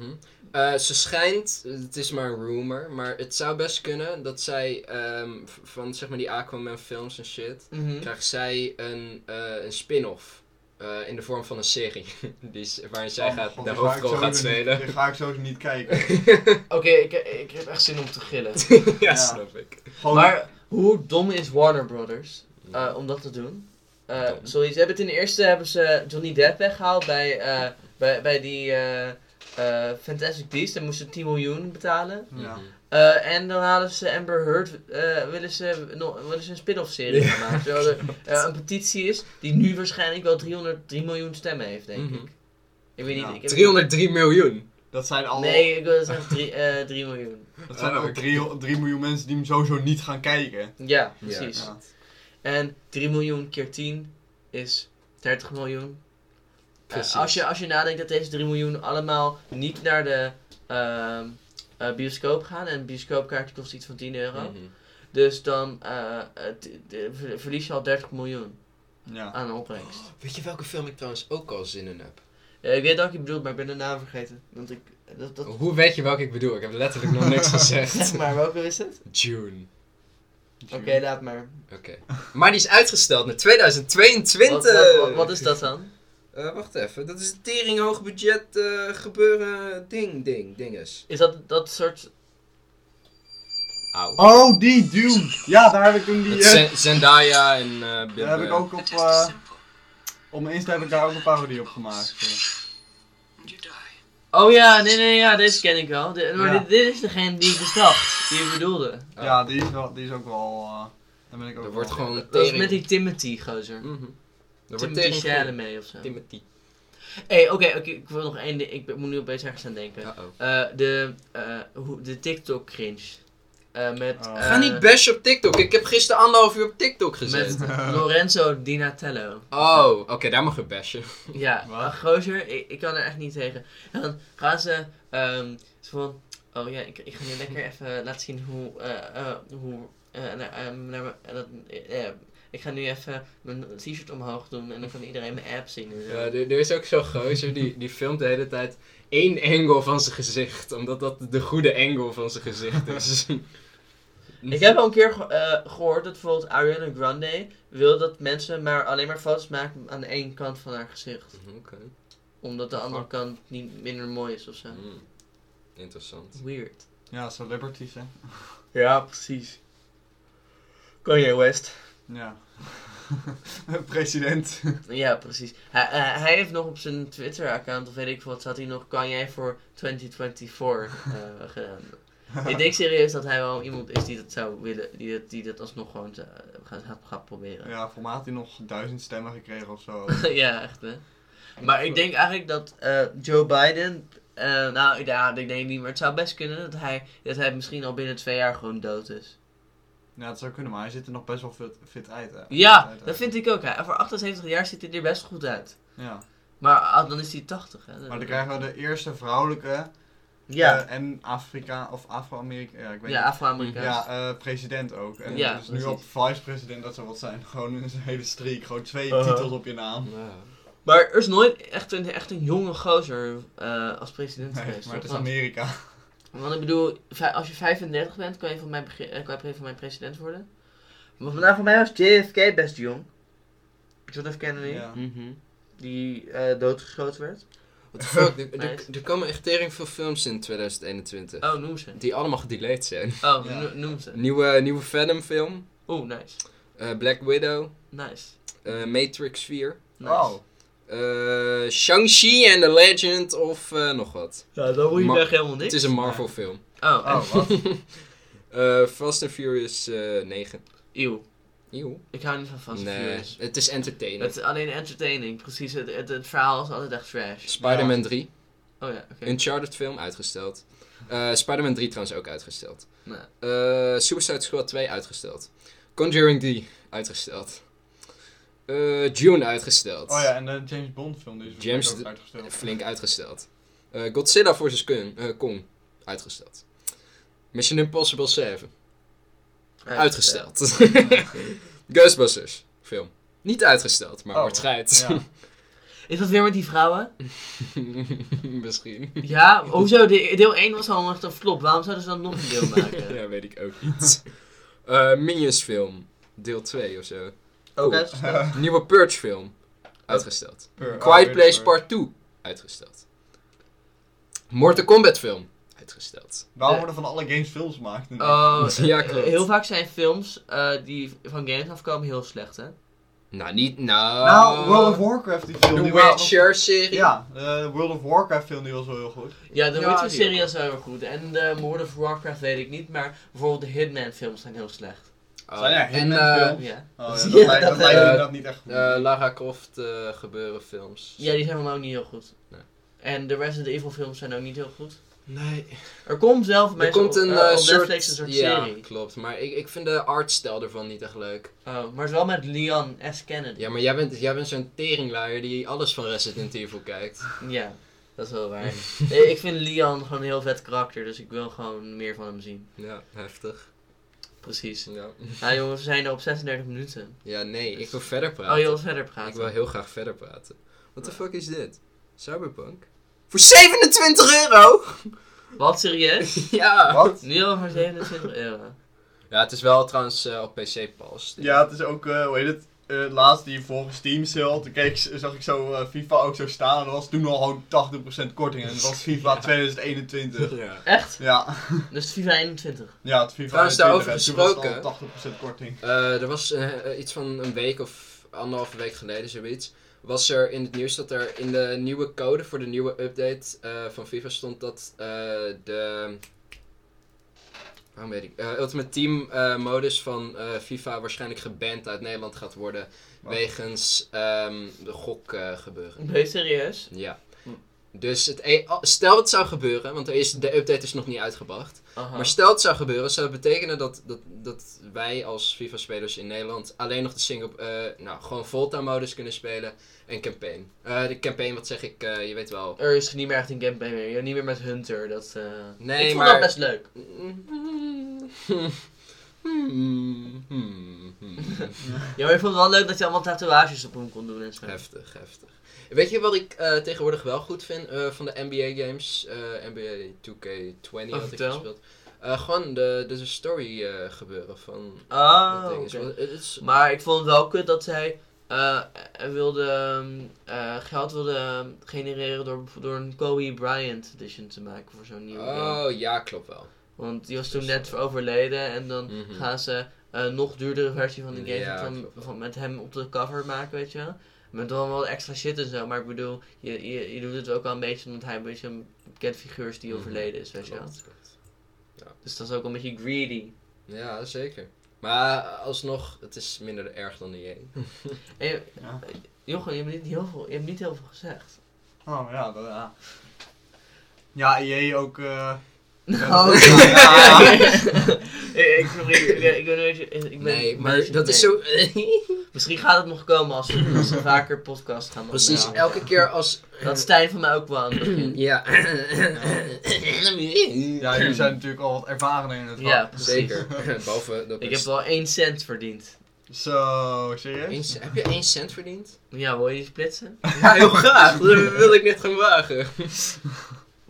Speaker 1: Eh, ze schijnt, het is maar een rumor, maar het zou best kunnen dat zij ehm, v- van zeg maar die Aquaman films en shit,
Speaker 2: Mhm.
Speaker 1: krijgt zij een, eh, een spin-off. eh, in de vorm van een serie. *laughs* die, is- waarin zij
Speaker 3: Oh,
Speaker 1: gaat,
Speaker 3: god,
Speaker 1: de
Speaker 3: die ga ik
Speaker 1: hoofdrol
Speaker 3: sowieso
Speaker 1: gaat spelen.
Speaker 3: Niet, die ga ik sowieso niet kijken.
Speaker 1: *laughs*
Speaker 2: Oké, ik, ik heb echt zin om te gillen.
Speaker 1: ja, *laughs*
Speaker 3: Ja.
Speaker 1: snap ik.
Speaker 3: Gewoon,
Speaker 2: Maar hoe dom is Warner Brothers eh, om dat te doen? Eh,
Speaker 1: Dom.
Speaker 2: zoiets. Ze hebben het in de eerste hebben ze Johnny Depp weggehaald bij, eh, bij, bij die eh, eh, Fantastic Beasts. Daar moesten ze 10 miljoen betalen.
Speaker 3: ja.
Speaker 1: Mhm.
Speaker 2: Eh, en dan halen ze Amber Heard, eh, willen, ze, nog- willen ze een spin-off serie gaan maken. Terwijl er eh, een petitie is die nu waarschijnlijk wel 303 miljoen stemmen heeft, denk
Speaker 1: Mhm.
Speaker 2: ik. Ik weet
Speaker 3: Ja.
Speaker 2: niet. Ik heb-
Speaker 1: 303 miljoen.
Speaker 3: Dat zijn al,
Speaker 2: Nee, ik wil zeggen 3, eh 3 miljoen.
Speaker 3: dat zijn al 3, Eh, miljoen mensen die hem sowieso niet gaan kijken.
Speaker 2: Ja, precies.
Speaker 3: Ja.
Speaker 2: En 3 miljoen keer 10 is 30 miljoen. Eh,
Speaker 1: Precies.
Speaker 2: als, je, als je nadenkt dat deze 3 miljoen allemaal niet naar de ehm, eh, bioscoop gaan. En een bioscoopkaartje kost iets van 10 euro.
Speaker 1: Mhm.
Speaker 2: Dus dan eh, het- de- ver- verlies je al 30 miljoen
Speaker 3: Ja.
Speaker 2: aan opbrengst.
Speaker 1: Weet je welke film ik trouwens ook al zin in heb?
Speaker 2: Eh, ik weet dat ik je bedoelt, maar ik ben de naam vergeten. Want ik. eh, Dat, dat,
Speaker 1: Hoe weet je welke ik bedoel? Ik heb letterlijk nog *laughs* niks
Speaker 2: zeg
Speaker 1: gezegd.
Speaker 2: *laughs* maar, welke is het?
Speaker 1: June.
Speaker 2: Oké, laat maar.
Speaker 1: Oké. Maar die is uitgesteld naar 2022.
Speaker 2: Wat, wat, wat, wat is dat dan?
Speaker 1: Eh, wacht even, dat is een tering hoog budget eh, gebeuren ding ding dinges.
Speaker 2: Is dat dat soort.
Speaker 1: Auw.
Speaker 3: Oh, die Dune! Ja, daar heb ik toen die...
Speaker 1: Met
Speaker 3: eh,
Speaker 1: Zen- Zendaya en eh, Bill
Speaker 3: daar heb ik
Speaker 1: Burr.
Speaker 3: ook op... eh op mijn Insta heb ik daar ook een parodie op gemaakt. eh.
Speaker 2: Oh ja, nee, nee, ja, deze ken ik wel. De- maar
Speaker 3: Ja.
Speaker 2: dit, dit is degene die ik dus dacht, die ik bedoelde.
Speaker 1: Ah.
Speaker 3: Ja, die is, wel, die is ook wel... eh daar ben ik ook
Speaker 1: Er wordt
Speaker 3: wel-
Speaker 1: gewoon een
Speaker 2: Dat
Speaker 1: tering.
Speaker 2: is met die Timothy gozer.
Speaker 1: Mhm. Er wordt
Speaker 2: Timothy
Speaker 1: tering.
Speaker 2: Chalamet
Speaker 1: goed.
Speaker 2: mee of zo.
Speaker 1: Timothy.
Speaker 2: hey, oké, oké, ik wil nog één ding. Ik ben- moet nu opeens ergens aan denken.
Speaker 1: Uh -oh.
Speaker 2: Eh, de, eh, hoe, de TikTok cringe. Eh, met.
Speaker 3: Oh.
Speaker 2: eh,
Speaker 1: Ga niet bash op TikTok. Ik heb gisteren anderhalf uur op TikTok gezeten.
Speaker 2: Met Lorenzo Dinatello.
Speaker 1: Oh, oké, daar mag je bashen.
Speaker 2: Ja,
Speaker 3: Wat?
Speaker 2: maar gozer, ik, ik kan er echt niet tegen. En dan gaan ze ehm, zo van, oh ja, ik, ik ga nu lekker even laten zien hoe, eh, eh, hoe, eh, naar, eh, naar mijn- eh, dat, eh, eh, ik ga nu even mijn t-shirt omhoog doen en dan kan iedereen mijn app zien. en zo.
Speaker 1: Ja, er, er is ook zo'n gozer die, die filmt de hele tijd één angle van zijn gezicht. Omdat dat de goede angle van zijn gezicht *laughs* is.
Speaker 2: Ik heb al een keer ge- eh, gehoord dat bijvoorbeeld Ariana Grande wil dat mensen maar alleen maar foto's maken aan één kant van haar gezicht.
Speaker 1: Mhm, Oké.
Speaker 2: Omdat de andere kant niet minder mooi is of zo.
Speaker 1: Hmm. Interessant.
Speaker 2: Weird.
Speaker 3: *laughs* Ja, celebrities, hè.
Speaker 2: Ja, precies. Kanye West.
Speaker 3: Ja. *laughs* President.
Speaker 2: Ja, precies. Hij, eh, hij heeft nog op zijn Twitter-account, of weet ik wat, staat hij nog, kan jij voor 2024 eh,
Speaker 3: *laughs*
Speaker 2: gedaan. ik denk serieus dat hij wel iemand is die dat zou willen, die dat, die dat alsnog gewoon zou- gaat, gaat, gaat proberen.
Speaker 3: Ja, voor mij had hij nog duizend stemmen gekregen of zo.
Speaker 2: *laughs* Ja. echt hè. Maar ik denk eigenlijk dat eh, Joe Biden, eh, nou ja, ik denk niet, maar het zou best kunnen dat hij, dat hij misschien al binnen twee jaar gewoon dood is.
Speaker 3: Ja, dat zou kunnen, maar hij ziet er nog best wel fit, fit uit. Hè.
Speaker 2: Ja, dat vind ik ook. Hè. Voor 78 jaar ziet hij er best goed uit.
Speaker 3: Ja.
Speaker 2: Maar ah, dan is hij 80 hè.
Speaker 3: Maar dan krijgen we de eerste vrouwelijke
Speaker 2: Ja,
Speaker 3: eh, en Afrika of Afro-Amerika. Ja, ik weet
Speaker 2: ja
Speaker 3: niet.
Speaker 2: Afro-Amerikaans.
Speaker 3: Ja, eh, president ook. En
Speaker 2: Ja,
Speaker 3: dus nu op
Speaker 2: precies.
Speaker 3: vice-president, dat zou wat zijn. *laughs* Gewoon een hele streak, gewoon twee
Speaker 2: Uh-huh.
Speaker 3: titels op je
Speaker 2: *laughs*
Speaker 3: naam.
Speaker 2: Maar er is nooit echt een, echt een jonge gozer eh, als president
Speaker 3: Nee,
Speaker 2: geweest.
Speaker 3: maar het is
Speaker 2: toch? want,
Speaker 3: Amerika.
Speaker 2: *laughs* want ik bedoel, vij- als je 35 bent, kan je van mij, bege- eh, kan je van mij president worden. Maar vandaag voor mij was JFK best jong. John F. Kennedy,
Speaker 3: Ja.
Speaker 2: Mhm. die eh, doodgeschoten werd.
Speaker 1: What the
Speaker 2: *laughs*
Speaker 1: fuck, er, er-
Speaker 2: Nice.
Speaker 1: er komen echt tering veel films in 2021.
Speaker 2: Oh, noem ze.
Speaker 1: Die allemaal gedelayed zijn.
Speaker 2: Oh,
Speaker 3: Ja.
Speaker 2: no- noem ze.
Speaker 1: Nieuwe, nieuwe Venom film.
Speaker 2: Oeh, nice.
Speaker 1: eh, Black Widow.
Speaker 2: Nice.
Speaker 1: eh, Matrix 4.
Speaker 2: nice.
Speaker 3: Oh,
Speaker 1: eh, Shang-Chi and the Legend of eh, nog wat.
Speaker 2: Ja, dan moet je
Speaker 1: Ma-
Speaker 2: echt helemaal
Speaker 1: Het
Speaker 2: niks.
Speaker 1: is een Marvel film.
Speaker 2: Oh, en-
Speaker 3: oh wat?
Speaker 1: *laughs* Eh, Fast and Furious eh 9.
Speaker 2: Eeuw.
Speaker 1: Eeuw.
Speaker 2: Ik hou niet van Fast and
Speaker 1: Nee,
Speaker 2: Furious.
Speaker 1: het is entertainend.
Speaker 2: Het is alleen entertaining, precies. Het, het, het verhaal is altijd echt trash.
Speaker 1: Spider-Man
Speaker 3: Ja.
Speaker 1: 3.
Speaker 2: Oh ja, oké.
Speaker 1: Uncharted film, uitgesteld. Eh, Spider-Man 3 trouwens ook uitgesteld.
Speaker 2: Nou.
Speaker 1: Eh, Suicide Squad 2 uitgesteld. Conjuring 3 uitgesteld. eh, June uitgesteld.
Speaker 3: Oh ja, en de James Bond film die is
Speaker 1: James
Speaker 3: ook
Speaker 1: de-
Speaker 3: uitgesteld.
Speaker 1: Flink uitgesteld. Eh, Godzilla vs. Kong, eh, Kong. Uitgesteld. Mission Impossible 7. Uitgesteld. *laughs* Ghostbusters. Film. Niet uitgesteld, maar
Speaker 3: Oh,
Speaker 1: wordt schijt.
Speaker 3: Ja. *laughs*
Speaker 2: Is dat weer met die vrouwen?
Speaker 1: *laughs* Misschien.
Speaker 2: Ja, hoezo? De- Deel 1 was al echt een flop. Waarom zouden ze dan nog
Speaker 1: *laughs*
Speaker 2: een deel maken?
Speaker 1: Ja, weet ik ook niet. *laughs* Eh, Minions film. Deel 2 of zo.
Speaker 2: Ook
Speaker 1: Oh. *laughs*
Speaker 2: uitgesteld.
Speaker 1: Nieuwe Purge film. Uitgesteld.
Speaker 3: Per- oh,
Speaker 1: Quiet
Speaker 3: weer
Speaker 1: Place
Speaker 3: per-
Speaker 1: Part 2. Uitgesteld. Mortal Kombat film. Uitgesteld.
Speaker 3: Waarom worden van alle games films gemaakt?
Speaker 2: Oh,
Speaker 1: *laughs* Ja,
Speaker 2: eh,
Speaker 1: klopt.
Speaker 2: Heel vaak zijn films eh, die van games afkomen heel slecht, hè?
Speaker 1: Nou, niet... Nou...
Speaker 3: nou, World of Warcraft die film.
Speaker 1: The
Speaker 3: die was-
Speaker 1: Witcher serie.
Speaker 3: Ja, eh, World of Warcraft film die was wel heel goed. Oh
Speaker 2: Ja, de
Speaker 1: Ja,
Speaker 2: Witcher
Speaker 1: die
Speaker 2: serie is wel heel goed. En de World of Warcraft weet ik niet, maar bijvoorbeeld de Hitman films zijn heel slecht.
Speaker 1: Oh,
Speaker 3: Zijn er
Speaker 1: en
Speaker 3: Hitman
Speaker 1: eh,
Speaker 3: films?
Speaker 2: Ja,
Speaker 1: *laughs*
Speaker 3: Oh, ja,
Speaker 2: Ja,
Speaker 3: dat lijkt,
Speaker 2: dat-
Speaker 3: dat lijkt me
Speaker 1: eh,
Speaker 3: inderdaad niet echt goed.
Speaker 1: eh, Lara Croft eh, gebeuren films.
Speaker 2: ja die zijn van mij ook niet heel goed.
Speaker 1: Nee.
Speaker 2: En de Resident Evil films zijn ook niet heel goed.
Speaker 1: Nee.
Speaker 2: Er komt zelf
Speaker 1: Er
Speaker 2: mensen
Speaker 1: komt een
Speaker 2: op,
Speaker 1: eh,
Speaker 2: eh, op
Speaker 1: soort...
Speaker 2: Netflix een soort
Speaker 1: ja,
Speaker 2: serie.
Speaker 1: klopt. Maar ik, ik vind de artstijl ervan niet echt leuk.
Speaker 2: Oh, maar het is wel met Leon S. Kennedy.
Speaker 1: Ja, maar jij bent, jij bent zo'n teringluier die alles van Resident Evil kijkt.
Speaker 2: Ja, dat is wel waar.
Speaker 1: *laughs*
Speaker 2: nee, ik vind Leon gewoon een heel vet karakter, dus ik wil gewoon meer van hem zien.
Speaker 1: Ja, heftig.
Speaker 2: Precies.
Speaker 1: *laughs* Ja,
Speaker 2: Nou jongens, we zijn er op 36 minuten.
Speaker 1: ja nee, ik wil verder praten.
Speaker 2: Oh, je wil verder
Speaker 1: Ik wil
Speaker 2: praten.
Speaker 1: heel graag verder praten. What the fuck is dit? Cyberpunk? Voor 27 euro?
Speaker 2: Wat, serieus?
Speaker 1: *laughs* ja!
Speaker 3: Wat?
Speaker 2: Nu al voor 27 euro.
Speaker 1: Ja, het is wel trouwens eh, op PC pas.
Speaker 3: Ja, het is ook, eh, hoe heet het? eh laatst die volgens Steam sale, toen keek, zag ik zo eh, FIFA ook zo staan. En er was toen al gewoon 80% korting. En dat was
Speaker 1: *laughs*
Speaker 3: FIFA 2021.
Speaker 1: Ja.
Speaker 2: Echt?
Speaker 3: Ja,
Speaker 2: Dus FIFA 21.
Speaker 3: ja het FIFA
Speaker 1: Trouwens, daarover
Speaker 3: 21, en toen was het al
Speaker 1: gesproken.
Speaker 3: 80% korting.
Speaker 1: Eh, er was eh, eh, iets van een week of anderhalve week geleden, zoiets. Was er in het nieuws dat er in de nieuwe code voor de nieuwe update eh, van FIFA stond dat eh, de. Waarom weet ik? eh, Ultimate Team eh, modus van eh, FIFA waarschijnlijk geband uit Nederland gaat worden.
Speaker 3: Wat?
Speaker 1: Wegens ehm, de gok eh, gebeuren.
Speaker 2: Ben je serieus?
Speaker 1: Ja. Dus het, e- al- stel het zou gebeuren, want er is, de update is nog niet uitgebracht.
Speaker 2: Aha.
Speaker 1: Maar stel het zou gebeuren, zou dat betekenen dat, dat, dat wij als FIFA-spelers in Nederland alleen nog de single, eh, nou, gewoon Volta-modus kunnen spelen en campaign. Eh, de campaign, wat zeg ik, eh, je weet wel. *laughs*
Speaker 2: Er is niet meer echt een gameplay meer. Ja, Niet meer met Hunter. Dat, eh,
Speaker 1: Nee,
Speaker 2: ik vond
Speaker 1: maar-
Speaker 2: dat best leuk. Ja, maar ik vond het wel leuk dat je allemaal tatoeages op hem kon doen en zo.
Speaker 1: Heftig, heftig. Weet je wat ik eh, tegenwoordig wel goed vind eh, van de NBA games? Eh, NBA 2K20
Speaker 2: Oh,
Speaker 1: had ik
Speaker 2: vertel.
Speaker 1: gespeeld. Eh, gewoon de, de story eh, gebeuren van
Speaker 2: Oh,
Speaker 1: dat ding. Is
Speaker 2: oké.
Speaker 1: wel- het is-
Speaker 2: Maar ik vond het wel kut dat zij eh, eh, wilde, ehm, eh, geld wilde ehm, genereren door, door een Kobe Bryant edition te maken voor zo'n nieuwe game.
Speaker 1: Oh ja, klopt wel.
Speaker 2: Want die was toen net overleden en dan
Speaker 1: Mhm.
Speaker 2: gaan ze een nog duurdere versie van de game
Speaker 1: Ja,
Speaker 2: van,
Speaker 1: klopt.
Speaker 2: van- met hem op de cover maken, weet je wel. Met dan wel extra shit en zo, maar ik bedoel, je, je, je doet het ook al een beetje omdat hij een beetje een bekend figuur is die
Speaker 1: Mhm.
Speaker 2: overleden is, weet je wel.
Speaker 1: Klopt, klopt.
Speaker 2: Dus dat is ook een beetje greedy.
Speaker 1: Ja, zeker. Maar alsnog, het is minder erg dan de *laughs* J.
Speaker 2: En je-
Speaker 3: Ja.
Speaker 2: Jochem, je hebt niet heel veel, je hebt niet heel veel gezegd.
Speaker 3: Oh ja, dat, ja. Ja, EA ook. eh,
Speaker 2: Nou,
Speaker 3: ja,
Speaker 2: *laughs*
Speaker 3: ja.
Speaker 2: ik, ik, sorry, ik, ben- ik ben een beetje- ik ben-
Speaker 1: Nee,
Speaker 2: een
Speaker 1: maar
Speaker 2: beetje-
Speaker 1: dat is
Speaker 2: nee.
Speaker 1: zo... *laughs*
Speaker 2: Misschien gaat het nog komen als we, als we vaker podcast gaan
Speaker 1: Precies,
Speaker 2: opnemen.
Speaker 1: elke keer als...
Speaker 2: Dat Stijn van mij ook wel aan het begin.
Speaker 1: *clears throat* Ja.
Speaker 3: Ja, jullie zijn natuurlijk al wat ervaren in het
Speaker 2: Ja,
Speaker 3: vak.
Speaker 2: precies.
Speaker 1: *laughs* Zeker. Behalve dat
Speaker 2: Ik heb wel 1 cent verdiend.
Speaker 3: Zo,
Speaker 1: Eén
Speaker 3: serieus?
Speaker 1: c- heb je 1 cent verdiend?
Speaker 2: Ja, wil je die splitsen?
Speaker 1: *laughs* Ja, heel graag. Dat wil ik net gaan wagen.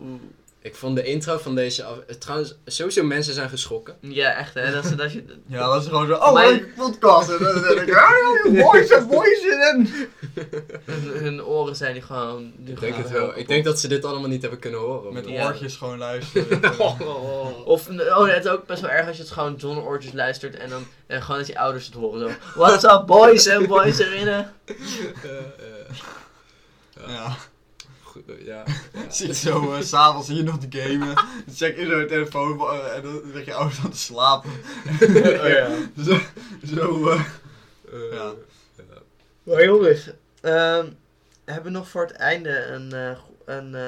Speaker 2: Oeh.
Speaker 1: *laughs* Ik vond de intro van deze... Af... Trouwens, sowieso mensen zijn geschrokken.
Speaker 2: Ja, echt hè. Dat, is- dat je...
Speaker 3: Ja, dat is gewoon zo. Oh,
Speaker 2: Maar-
Speaker 3: leuke podcast. En dan denk ik, ah, mooi zit, mooi zit
Speaker 1: *laughs*
Speaker 3: in.
Speaker 2: hun, hun oren zijn die gewoon... die
Speaker 1: Ik denk
Speaker 2: gaan
Speaker 1: het wel.
Speaker 2: heel
Speaker 1: Ik denk dat ze dit allemaal niet hebben kunnen horen.
Speaker 3: Met
Speaker 2: Ja.
Speaker 3: oortjes gewoon luisteren.
Speaker 1: *laughs* Oh.
Speaker 2: Of, oh, het is ook best wel erg als je het gewoon John Oortjes luistert en dan en gewoon dat je ouders het horen. Zo, what's up boys en boys
Speaker 1: *laughs*
Speaker 2: erin.
Speaker 1: Eh, eh,
Speaker 3: Ja.
Speaker 1: goed, *laughs* ja.
Speaker 3: Zit zo eh, s s'avonds hier nog te gamen. Dan check je zo je telefoon eh, en dan lig je ouders aan te
Speaker 1: *laughs*
Speaker 3: slapen.
Speaker 1: Oh
Speaker 3: Zo, zo eh,
Speaker 1: Eh,
Speaker 3: Ja.
Speaker 1: ja.
Speaker 2: Maar jongens, ehm, hebben we nog voor het einde een, eh, go- een eh,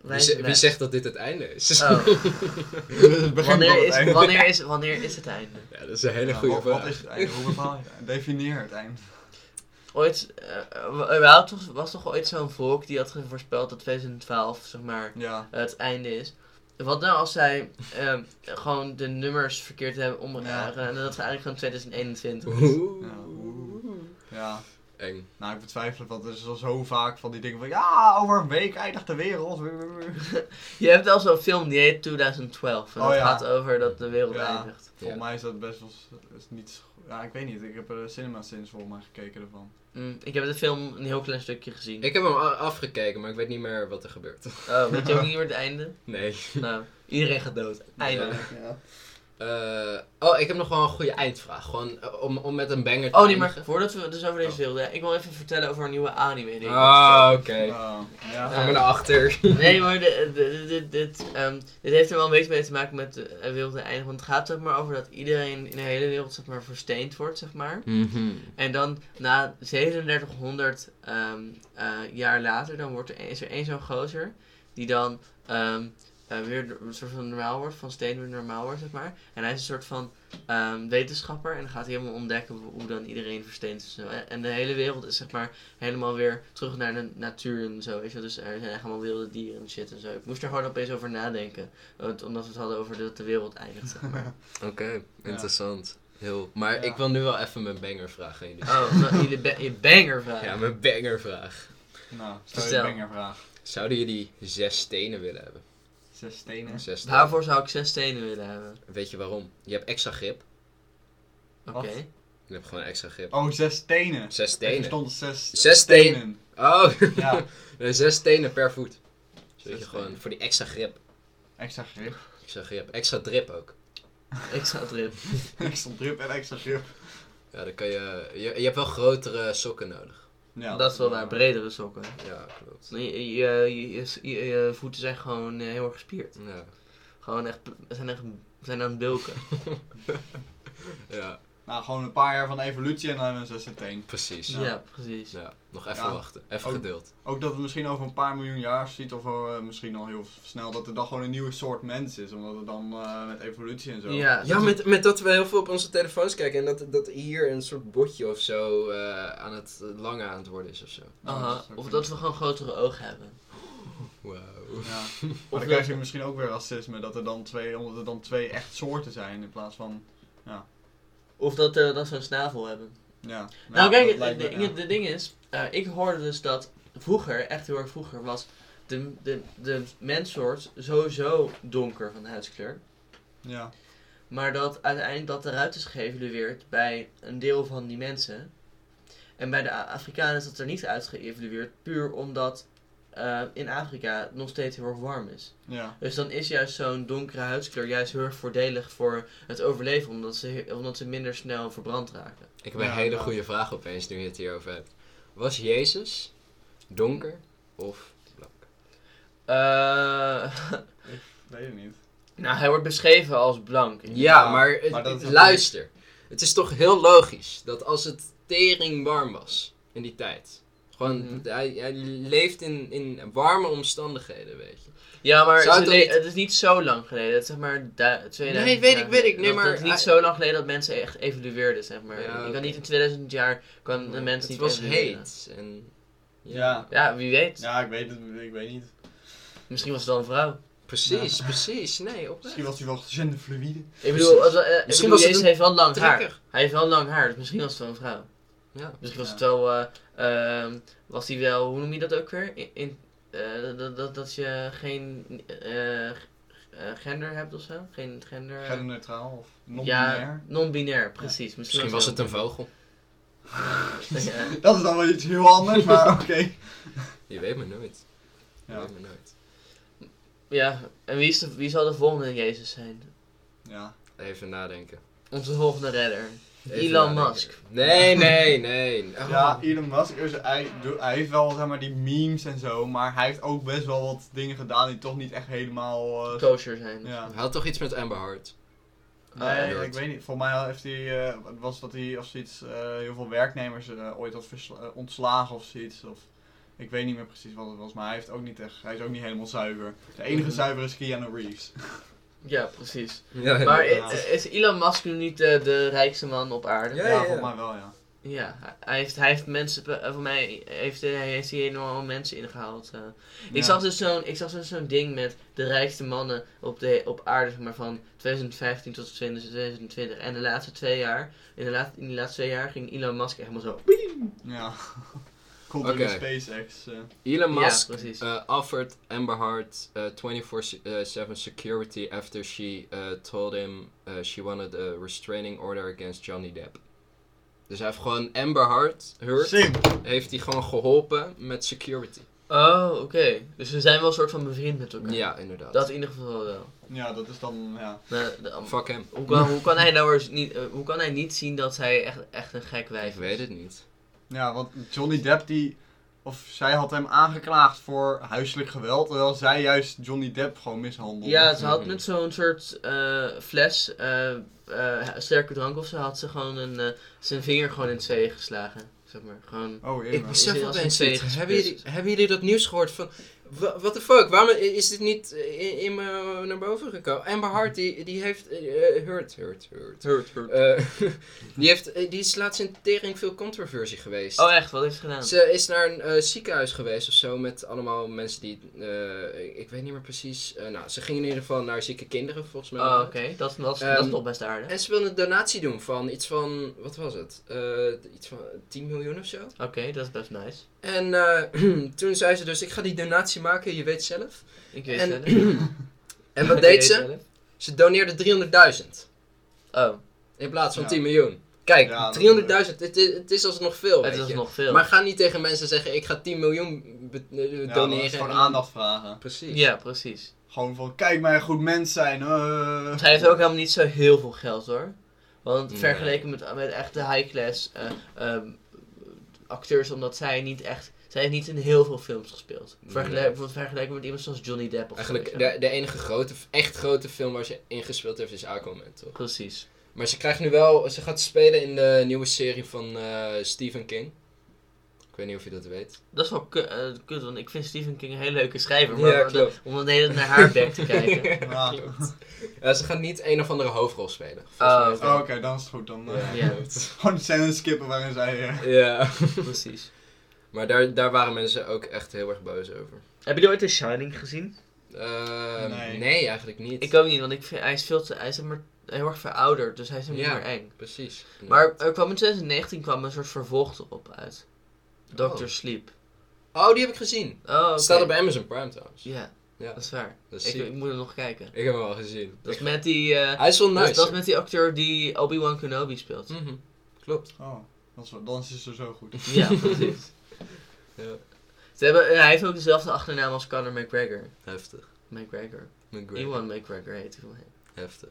Speaker 1: Wie,
Speaker 2: lijstje?
Speaker 1: ze- wie zegt dat dit het einde is? *laughs*
Speaker 2: Oh,
Speaker 3: dus het begin van
Speaker 2: wanneer,
Speaker 3: het
Speaker 2: is,
Speaker 3: einde.
Speaker 2: wanneer, is, wanneer is het einde?
Speaker 1: Ja, dat is een hele
Speaker 3: Ja,
Speaker 1: goede
Speaker 3: Nou, wat, wat
Speaker 1: vraag.
Speaker 3: is het einde? Hoe bepaal je het einde? Definieer het einde.
Speaker 2: ooit, eh, er was toch- was toch ooit zo'n volk die had voorspeld dat 2012, zeg maar,
Speaker 3: Ja.
Speaker 2: het einde is. Wat nou als zij ehm, gewoon de nummers verkeerd hebben omgedragen en dat ze eigenlijk gewoon 2021 is?
Speaker 3: Ja.
Speaker 1: Eng.
Speaker 3: Nou, ik betwijfel het, want er is al zo vaak van die dingen van... Ja, over een week eindigt de wereld. Volgens
Speaker 2: Je hebt al zo'n film die heet 2012 en
Speaker 3: Oh
Speaker 2: dat
Speaker 3: ja.
Speaker 2: gaat over dat de wereld
Speaker 3: Ja.
Speaker 2: eindigt.
Speaker 1: Ja.
Speaker 3: mij is dat best wel... Is niet, zo- ja, ik weet niet. Ik heb er Cinema Sins volgens mij gekeken ervan.
Speaker 2: Mm, ik heb de film een heel klein stukje gezien.
Speaker 1: Ik heb hem a- afgekeken, maar ik weet niet meer wat er gebeurt. *laughs*
Speaker 2: Oh, weet je ook niet meer het einde?
Speaker 1: Nee.
Speaker 2: Nou, iedereen gaat dood. Eindelijk.
Speaker 3: Ja.
Speaker 1: Eh, oh, ik heb nog wel een goede eindvraag. Gewoon eh, om, om met een banger te
Speaker 2: Oh nee, maar
Speaker 1: eindigen.
Speaker 2: voordat we dus over deze
Speaker 1: Oh.
Speaker 2: wilden, ik wil even vertellen over een nieuwe anime. die ik
Speaker 1: Ah, oké.
Speaker 3: ja.
Speaker 1: Gaan we naar achter.
Speaker 2: *laughs*
Speaker 1: *laughs*
Speaker 2: Nee, maar de- de- dit, dit, ehm, dit heeft er wel een beetje mee te maken met de eh, wereld en einde. Want het gaat zeg maar over dat iedereen in de hele wereld zeg maar, versteend wordt, zeg maar. En dan na 3700 ehm, eh, jaar later, dan wordt er, is er één zo'n gozer die dan ehm, eh, weer een soort van normaal wordt, van steen weer normaal wordt, zeg maar. En hij is een soort van ehm, wetenschapper en dan gaat hij helemaal ontdekken hoe hoe dan iedereen versteend is. en zo. En de hele wereld is zeg maar helemaal weer terug naar de natuur en zo, weet je wel. Dus er zijn echt allemaal wilde dieren en shit en zo. Ik moest er gewoon opeens over nadenken, want- omdat we het hadden over dat de wereld eindigt, zeg
Speaker 3: *laughs*
Speaker 2: maar.
Speaker 1: Oké, interessant. Heel. Maar
Speaker 3: Ja.
Speaker 1: ik wil nu wel even mijn bangervraag aan jullie.
Speaker 2: Oh, nou, jullie ba- je banger vraag.
Speaker 1: Ja, mijn bangervraag.
Speaker 3: Nou, stel je
Speaker 2: Vertel.
Speaker 3: bangervraag.
Speaker 1: Zouden jullie zes stenen willen hebben?
Speaker 3: Zes stenen.
Speaker 1: Zes stenen.
Speaker 2: Daarvoor zou ik zes stenen willen hebben.
Speaker 1: Weet je waarom? Je hebt extra grip.
Speaker 2: Oké.
Speaker 3: Wat?
Speaker 1: Je hebt gewoon extra grip.
Speaker 3: Oh, zes stenen.
Speaker 1: Zes
Speaker 3: Er
Speaker 1: stenen.
Speaker 3: stond zes,
Speaker 1: Zes stenen. Oh,
Speaker 3: Ja,
Speaker 1: *laughs* Nee, zes stenen per voet. Zodat je
Speaker 3: Zes
Speaker 1: gewoon
Speaker 3: stenen.
Speaker 1: voor die extra grip.
Speaker 3: extra grip.
Speaker 2: *laughs*
Speaker 1: Extra grip. Extra drip ook.
Speaker 2: Extra drip.
Speaker 3: extra drip en extra grip.
Speaker 1: Ja, dan kan je... Je, je hebt wel grotere sokken nodig.
Speaker 3: Ja, eh,
Speaker 2: dat is wel naar bredere sokken.
Speaker 1: Ja, klopt.
Speaker 2: Je, je, je, je- je- je voeten zijn gewoon eh, heel erg gespierd.
Speaker 1: Ja.
Speaker 2: Gewoon echt, zijn echt zijn aan het bulken.
Speaker 3: *laughs*
Speaker 1: Ja,
Speaker 3: Nou, gewoon een paar jaar van evolutie en dan hebben we een zesde teen.
Speaker 1: precies.
Speaker 2: Ja,
Speaker 1: Ja. Oh.
Speaker 2: precies.
Speaker 1: Nog even
Speaker 3: Ja.
Speaker 1: wachten. Even
Speaker 3: Ook-
Speaker 1: geduld.
Speaker 3: Ook dat het misschien over een paar miljoen jaar ziet, of eh, misschien al heel snel, dat er dan gewoon een nieuwe soort mens is. Omdat het dan eh, met evolutie en zo.
Speaker 2: Ja,
Speaker 1: Ja,
Speaker 2: dat-
Speaker 1: met, met dat we heel veel op onze telefoons kijken en dat, dat hier een soort botje of zo eh, aan het langer aan het worden is of zo.
Speaker 2: aha,
Speaker 3: dat is ook
Speaker 2: of
Speaker 3: een-
Speaker 2: dat we gewoon grotere ogen hebben. *laughs*
Speaker 1: Wauw.
Speaker 3: Ja.
Speaker 2: Of
Speaker 3: Maar dan krijg je misschien ook weer racisme, dat er dan twee, omdat er dan twee echt soorten zijn in plaats van.
Speaker 2: Of dat we dan zo'n snavel hebben.
Speaker 3: Ja.
Speaker 2: nou,
Speaker 3: Ja,
Speaker 2: kijk,
Speaker 3: dat
Speaker 2: het
Speaker 3: lijkt me-
Speaker 2: de-
Speaker 3: ja.
Speaker 2: de ding is, eh, ik hoorde dus dat vroeger, echt heel erg vroeger, was de, de, de menssoort sowieso donker van huidskleur.
Speaker 3: Ja.
Speaker 2: Maar dat uiteindelijk dat eruit is geëvalueerd bij een deel van die mensen. En bij de A- Afrikanen is dat er niet uit geëvalueerd, puur omdat eh, in Afrika het nog steeds heel erg warm is.
Speaker 3: Ja.
Speaker 2: Dus dan is juist zo'n donkere huidskleur juist heel erg voordelig voor het overleven, omdat ze, he- omdat ze minder snel verbrand raken.
Speaker 1: Ik heb een
Speaker 3: Ja,
Speaker 1: hele
Speaker 3: ja.
Speaker 1: goede vraag opeens nu je het hierover hebt. Was Jezus donker of blank?
Speaker 2: Eh, *laughs*
Speaker 3: Weet ik niet.
Speaker 2: nou, hij wordt beschreven als blank.
Speaker 1: Ja,
Speaker 3: Ja,
Speaker 1: maar, het-
Speaker 3: maar dat is ook
Speaker 1: luister. Het is toch heel logisch dat als het tering warm was in die tijd. Gewoon,
Speaker 2: Mhm.
Speaker 1: hij, hij leeft in, in warme omstandelheden, weet je.
Speaker 2: Ja, maar
Speaker 1: Zou
Speaker 2: ze
Speaker 1: het
Speaker 2: le-
Speaker 1: niet-
Speaker 2: het is niet zo lang geleden. Het is zeg maar du- 2000
Speaker 1: Nee, weet ik,
Speaker 2: jaar
Speaker 1: weet ik.
Speaker 2: geleden.
Speaker 1: Nee,
Speaker 2: Dat-
Speaker 1: maar
Speaker 2: Het is
Speaker 1: hij-
Speaker 2: niet zo lang geleden dat mensen echt evolueerden, zeg maar.
Speaker 1: Ja,
Speaker 2: je
Speaker 1: oké.
Speaker 2: kan niet in 2000 jaar, kan de mens
Speaker 1: het
Speaker 2: niet
Speaker 1: was
Speaker 2: evolueren.
Speaker 1: heet. En,
Speaker 3: Ja.
Speaker 2: Ja, wie weet.
Speaker 3: Ja, ik weet het, ik weet niet.
Speaker 2: Misschien was het wel een vrouw.
Speaker 1: Precies, precies.
Speaker 2: *laughs*
Speaker 1: Nee, oprecht.
Speaker 3: Misschien was hij wel genderfluïde.
Speaker 2: Ik bedoel, als, eh, ik
Speaker 1: Misschien
Speaker 2: bedoel,
Speaker 1: was het
Speaker 2: Jezus
Speaker 1: een
Speaker 2: heeft wel lang haar.
Speaker 1: trekker.
Speaker 2: Hij heeft wel lang haar, dus misschien was het wel een vrouw.
Speaker 1: Ja.
Speaker 2: Misschien was
Speaker 3: Ja.
Speaker 2: het wel, eh, ehm, was hij wel, hoe noem je dat ook weer? In, in- eh, dat, dat, dat je geen eh, eh, gender hebt of zo? Geen gender...
Speaker 3: Eh, Genderneutraal of
Speaker 2: Ja,
Speaker 3: non-binair.
Speaker 2: non-binair, precies. Misschien,
Speaker 1: Misschien was het een vogel.
Speaker 2: Ja.
Speaker 3: Dat is dan wel iets heel anders, maar *laughs* oké.
Speaker 1: Je weet maar nooit. Je
Speaker 3: Ja.
Speaker 1: weet maar nooit.
Speaker 2: Ja, en wie, is de, wie zal de volgende Jezus zijn?
Speaker 3: Ja.
Speaker 1: Even nadenken.
Speaker 2: Onze volgende redder.
Speaker 1: Even
Speaker 2: Elon
Speaker 1: nadenken.
Speaker 2: Musk.
Speaker 1: Nee, nee, nee. Oh.
Speaker 3: Ja, Elon Musk, is, hij, doe- hij heeft wel zeg maar die memes en zo, maar hij heeft ook best wel wat dingen gedaan die toch niet echt helemaal... eh,
Speaker 2: Kosher zijn.
Speaker 3: ja.
Speaker 1: Hij had toch iets met Amber Heard?
Speaker 3: Nee,
Speaker 1: Nerd.
Speaker 3: ik weet niet. Volgens mij heeft hij, eh was dat hij of zoiets, eh, heel veel werknemers eh, ooit had versla- eh, ontslagen of zoiets. Of, ik weet niet meer precies wat het was, maar hij, heeft ook niet echt, hij is ook niet helemaal zuiver. De enige
Speaker 2: Mhm.
Speaker 3: zuiver is Keanu Reeves.
Speaker 2: Ja, precies.
Speaker 1: Ja,
Speaker 2: Maar
Speaker 3: inderdaad.
Speaker 2: eh, is Elon Musk nu niet de, de rijkste man op aarde?
Speaker 1: Ja,
Speaker 3: Ja,
Speaker 1: ja, ja.
Speaker 3: volgens mij wel, ja.
Speaker 2: Ja, hij- hij heeft, hij heeft mensen, be- eh, voor mij heeft hij, hij heeft hier enorm mensen ingehaald. eh. Ik,
Speaker 3: Ja.
Speaker 2: zag dus zo'n, ik zag dus zo'n ding met de rijkste mannen op, de, op aarde, zeg maar van 2015 tot 2020. En de laatste twee jaar, in de laatste, in de laatste twee jaar ging Elon Musk echt helemaal zo.
Speaker 3: Ja. *laughs* Komt door
Speaker 1: Oké.
Speaker 3: de SpaceX. eh.
Speaker 1: Elon Musk
Speaker 2: Ja, precies.
Speaker 1: uh, offered Amber Heard uh, 24/7 security after she uh, told him uh, she wanted a restraining order against Johnny Depp. Dus hij heeft gewoon Amber Heard, Heard
Speaker 3: Sim.
Speaker 1: heeft hij gewoon geholpen met security.
Speaker 2: Oh, oké. Dus we zijn wel een soort van bevriend met elkaar.
Speaker 1: Ja, inderdaad.
Speaker 2: Dat in ieder geval wel.
Speaker 3: Ja, dat is dan, ja.
Speaker 2: Maar de-
Speaker 1: Fuck hem.
Speaker 2: hoe, kan, hoe, kan hij nou eens niet, eh, hoe kan hij niet zien dat hij echt, echt een gek
Speaker 1: Ik
Speaker 2: wijf is?
Speaker 1: weet het niet.
Speaker 3: Ja, want Johnny Depp die... Of zij had hem aangeklaagd voor huiselijk geweld, terwijl zij juist Johnny Depp gewoon mishandelde.
Speaker 2: Ja, ze had
Speaker 1: Mhm.
Speaker 2: met zo'n soort eh, fles, eh, eh, sterke drank of zo, had ze gewoon een, eh, zijn vinger gewoon in het zee geslagen. Zeg maar, gewoon...
Speaker 3: Oh,
Speaker 1: Ik
Speaker 3: jee, maar.
Speaker 2: Is
Speaker 1: besef
Speaker 2: hij als
Speaker 1: opeens
Speaker 2: een
Speaker 1: niet.
Speaker 2: tweede
Speaker 1: Hebben jullie,
Speaker 2: gespitst?
Speaker 1: hebben jullie dat nieuws gehoord van... Wat the fuck? Waarom i- is dit niet eh, in, in me naar boven gekomen? Amber Heard, die, die heeft... eh, eh, Heard, Heard, Heard. Eh, *laughs* die, heeft, eh, die is laatst in tering veel controversie geweest.
Speaker 2: Oh echt, wat heeft ze gedaan?
Speaker 1: Ze is naar een eh, ziekenhuis geweest of zo met allemaal mensen die... eh, ik weet niet meer precies. Eh, nou, ze gingen in ieder geval naar zieke kinderen volgens mij.
Speaker 2: Oh, oké, dat, is- dat, is- dat
Speaker 1: Ehm,
Speaker 2: is toch best aardig.
Speaker 1: En ze wilde een donatie doen van iets van... Wat was het? Eh, iets van 10 miljoen of zo?
Speaker 2: Oké, dat is best nice.
Speaker 1: En eh, *clears throat* toen zei ze dus, ik ga die donatie maken, je weet zelf.
Speaker 2: Ik weet
Speaker 1: En-
Speaker 2: het *clears throat* zelf.
Speaker 1: En
Speaker 2: *laughs*
Speaker 1: wat
Speaker 2: Ik
Speaker 1: deed
Speaker 2: weet
Speaker 1: ze?
Speaker 2: het zelf.
Speaker 1: Ze doneerde 300.000
Speaker 2: Oh,
Speaker 1: in plaats van
Speaker 3: Ja.
Speaker 1: 10 miljoen. Kijk,
Speaker 3: Ja, dat
Speaker 1: 300.000, het is, het is alsnog veel,
Speaker 2: het
Speaker 1: weet
Speaker 2: is
Speaker 1: je.
Speaker 2: nog veel.
Speaker 1: Maar ga niet tegen mensen zeggen, ik ga 10 miljoen be- eh,
Speaker 3: Ja, dat
Speaker 1: doneren.
Speaker 3: is gewoon
Speaker 1: en dan-
Speaker 3: aandacht vragen.
Speaker 1: Precies.
Speaker 2: Ja, precies.
Speaker 3: Gewoon van, kijk mij een goed mens zijn. eh.
Speaker 2: Zij heeft ook helemaal niet zo heel veel geld hoor. Want
Speaker 1: Nee.
Speaker 2: vergeleken met, met echt de high class eh, ehm, acteurs, omdat zij niet echt. Zij heeft niet in heel veel films gespeeld. Vergele-
Speaker 1: Nee.
Speaker 2: Bijvoorbeeld vergeleken met iemand zoals Johnny Depp of zo,
Speaker 1: Eigenlijk,
Speaker 2: weet je.
Speaker 1: de, de enige grote, echt grote film waar ze in gespeeld heeft is Aquaman, toch?
Speaker 2: Precies.
Speaker 1: Maar ze krijgt nu wel, ze gaat spelen in de nieuwe serie van eh, Stephen King. Ik weet niet of je dat weet.
Speaker 2: Dat is wel ku- eh, kut, want ik vind Stephen King een hele leuke schrijver. Maar
Speaker 1: Ja,
Speaker 2: om-
Speaker 1: klopt.
Speaker 2: om dan de hele tijd naar haar
Speaker 1: *laughs*
Speaker 2: bek te kijken. *laughs*
Speaker 3: Ja.
Speaker 1: Klopt. *laughs* Ja, ze gaat niet een of andere hoofdrol spelen.
Speaker 2: Oh,
Speaker 1: Volgens mij.
Speaker 3: Oh, Oké, dan is het goed. Dan eh,
Speaker 1: Ja.
Speaker 2: Ja.
Speaker 3: *laughs* gewoon scène skippen waarin zij... eh,
Speaker 1: Ja. *laughs*
Speaker 2: Precies.
Speaker 1: Maar daar, daar waren mensen ook echt heel erg boos over.
Speaker 2: Heb je ooit The Shining gezien?
Speaker 1: Ehm, nee.
Speaker 3: Nee.
Speaker 1: eigenlijk niet.
Speaker 2: Ik ook niet, want ik vind, hij is veel te. Hij is maar heel erg verouderd, dus hij is helemaal
Speaker 1: Ja.
Speaker 2: niet meer eng.
Speaker 1: Precies. Nee.
Speaker 2: Maar er kwam in 2019 kwam een soort vervolg erop uit. Dr.
Speaker 1: Oh.
Speaker 2: Sleep.
Speaker 1: Oh, die heb ik gezien.
Speaker 2: Oh, oké.
Speaker 1: Het staat op Amazon Prime trouwens.
Speaker 2: Ja,
Speaker 1: Ja.
Speaker 2: dat is waar.
Speaker 1: Dat is
Speaker 2: Ik,
Speaker 1: ziek.
Speaker 2: ik moet hem nog kijken.
Speaker 1: Ik heb hem al gezien.
Speaker 2: Dat is met die, eh,
Speaker 1: Hij is wel
Speaker 2: dat,
Speaker 1: nice.
Speaker 2: is- dat is met die acteur die Obi-Wan Kenobi
Speaker 1: *laughs*
Speaker 2: speelt.
Speaker 1: Dus Mhm. Klopt.
Speaker 3: Oh, dan is, dan is het zo- zo goed.
Speaker 2: Ja, precies.
Speaker 1: Ja.
Speaker 2: Ze hebben, eh, hij heeft ook dezelfde achternaam als Conor McGregor.
Speaker 1: Heftig.
Speaker 2: McGregor.
Speaker 1: McGregor.
Speaker 2: Iwan McGregor heet hij.
Speaker 1: Heftig.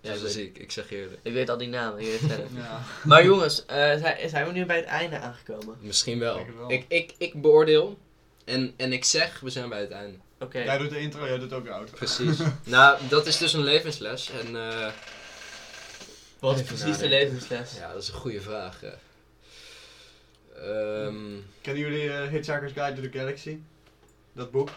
Speaker 2: Ja,
Speaker 1: Ja,
Speaker 2: ik
Speaker 1: zo
Speaker 2: weet,
Speaker 1: zie ik. Ik zeg je eerlijk.
Speaker 2: ik weet al die namen. Ik weet het verder.
Speaker 3: Ja.
Speaker 2: maar jongens, eh, zijn, zijn we nu bij het einde aangekomen?
Speaker 1: Misschien wel.
Speaker 3: Ik denk het wel.
Speaker 1: Ik, ik, ik beoordeel. En, en ik zeg, we zijn bij het einde.
Speaker 2: Oké.
Speaker 3: Jij doet de intro, jij doet ook de outro. *laughs*
Speaker 1: Precies. nou, dat is dus een levensles. En eh,
Speaker 2: Wat is
Speaker 1: Even
Speaker 2: precies de
Speaker 1: nadenken.
Speaker 2: levensles?
Speaker 1: ja, dat is een goede vraag. eh. Ehm,
Speaker 3: Kennen jullie eh, Hitchhiker's Guide to the Galaxy? Dat boek?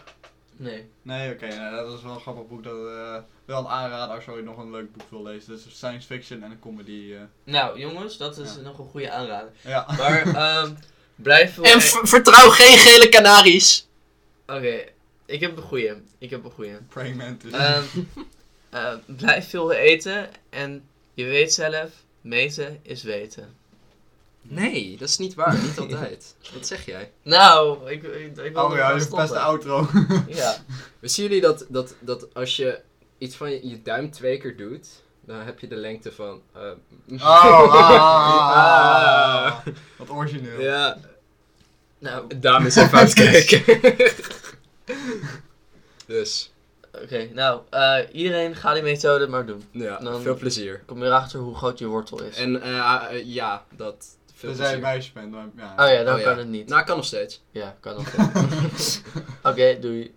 Speaker 2: Nee.
Speaker 3: Nee, oké, nou, dat is wel een grappig boek. Dat, eh, wel een aanrader als je ooit nog een leuk boek wil lezen. Dus science fiction en een comedy. eh.
Speaker 2: Nou, jongens, dat is
Speaker 3: Ja.
Speaker 2: nog een goede aanrader.
Speaker 3: Ja.
Speaker 2: Maar *laughs* ehm blijf wel-
Speaker 1: En ver- vertrouw geen gele kanaries.
Speaker 2: Oké, ik heb een goeie. Ik heb een goeie.
Speaker 3: *laughs* Praying Mantis.
Speaker 2: Ehm, *laughs* eh, blijf veel eten en je weet zelf, meten is weten.
Speaker 1: Nee, dat is niet waar. Niet *laughs* altijd. Wat zeg jij?
Speaker 2: Nou, ik, ik, ik wil
Speaker 3: oh
Speaker 2: er
Speaker 3: ja,
Speaker 2: wel
Speaker 3: dat is best de
Speaker 2: stoppen.
Speaker 3: outro.
Speaker 2: Ja,
Speaker 1: Wisten jullie dat, dat, dat als je iets van je, je duim twee keer doet, dan heb je de lengte van... eh,
Speaker 3: Oh, ah, ah, ah. *laughs* Wat origineel.
Speaker 1: ja,
Speaker 2: nou,
Speaker 1: dames even
Speaker 3: *laughs*
Speaker 1: uitkijken. dus,
Speaker 2: oké. nou, eh, iedereen ga die methode maar doen.
Speaker 1: ja,
Speaker 2: Dan-
Speaker 1: veel plezier.
Speaker 2: Kom je erachter hoe groot je wortel is.
Speaker 1: En eh, eh, ja, dat... Veel
Speaker 3: Tenzij je een
Speaker 1: plezier.
Speaker 3: meisje *laughs* bent. Dan, ja.
Speaker 2: Oh ja, dan
Speaker 1: Oh ja.
Speaker 2: kan het niet.
Speaker 1: Nou, kan nog steeds.
Speaker 2: Ja, kan ook. Oké, doei.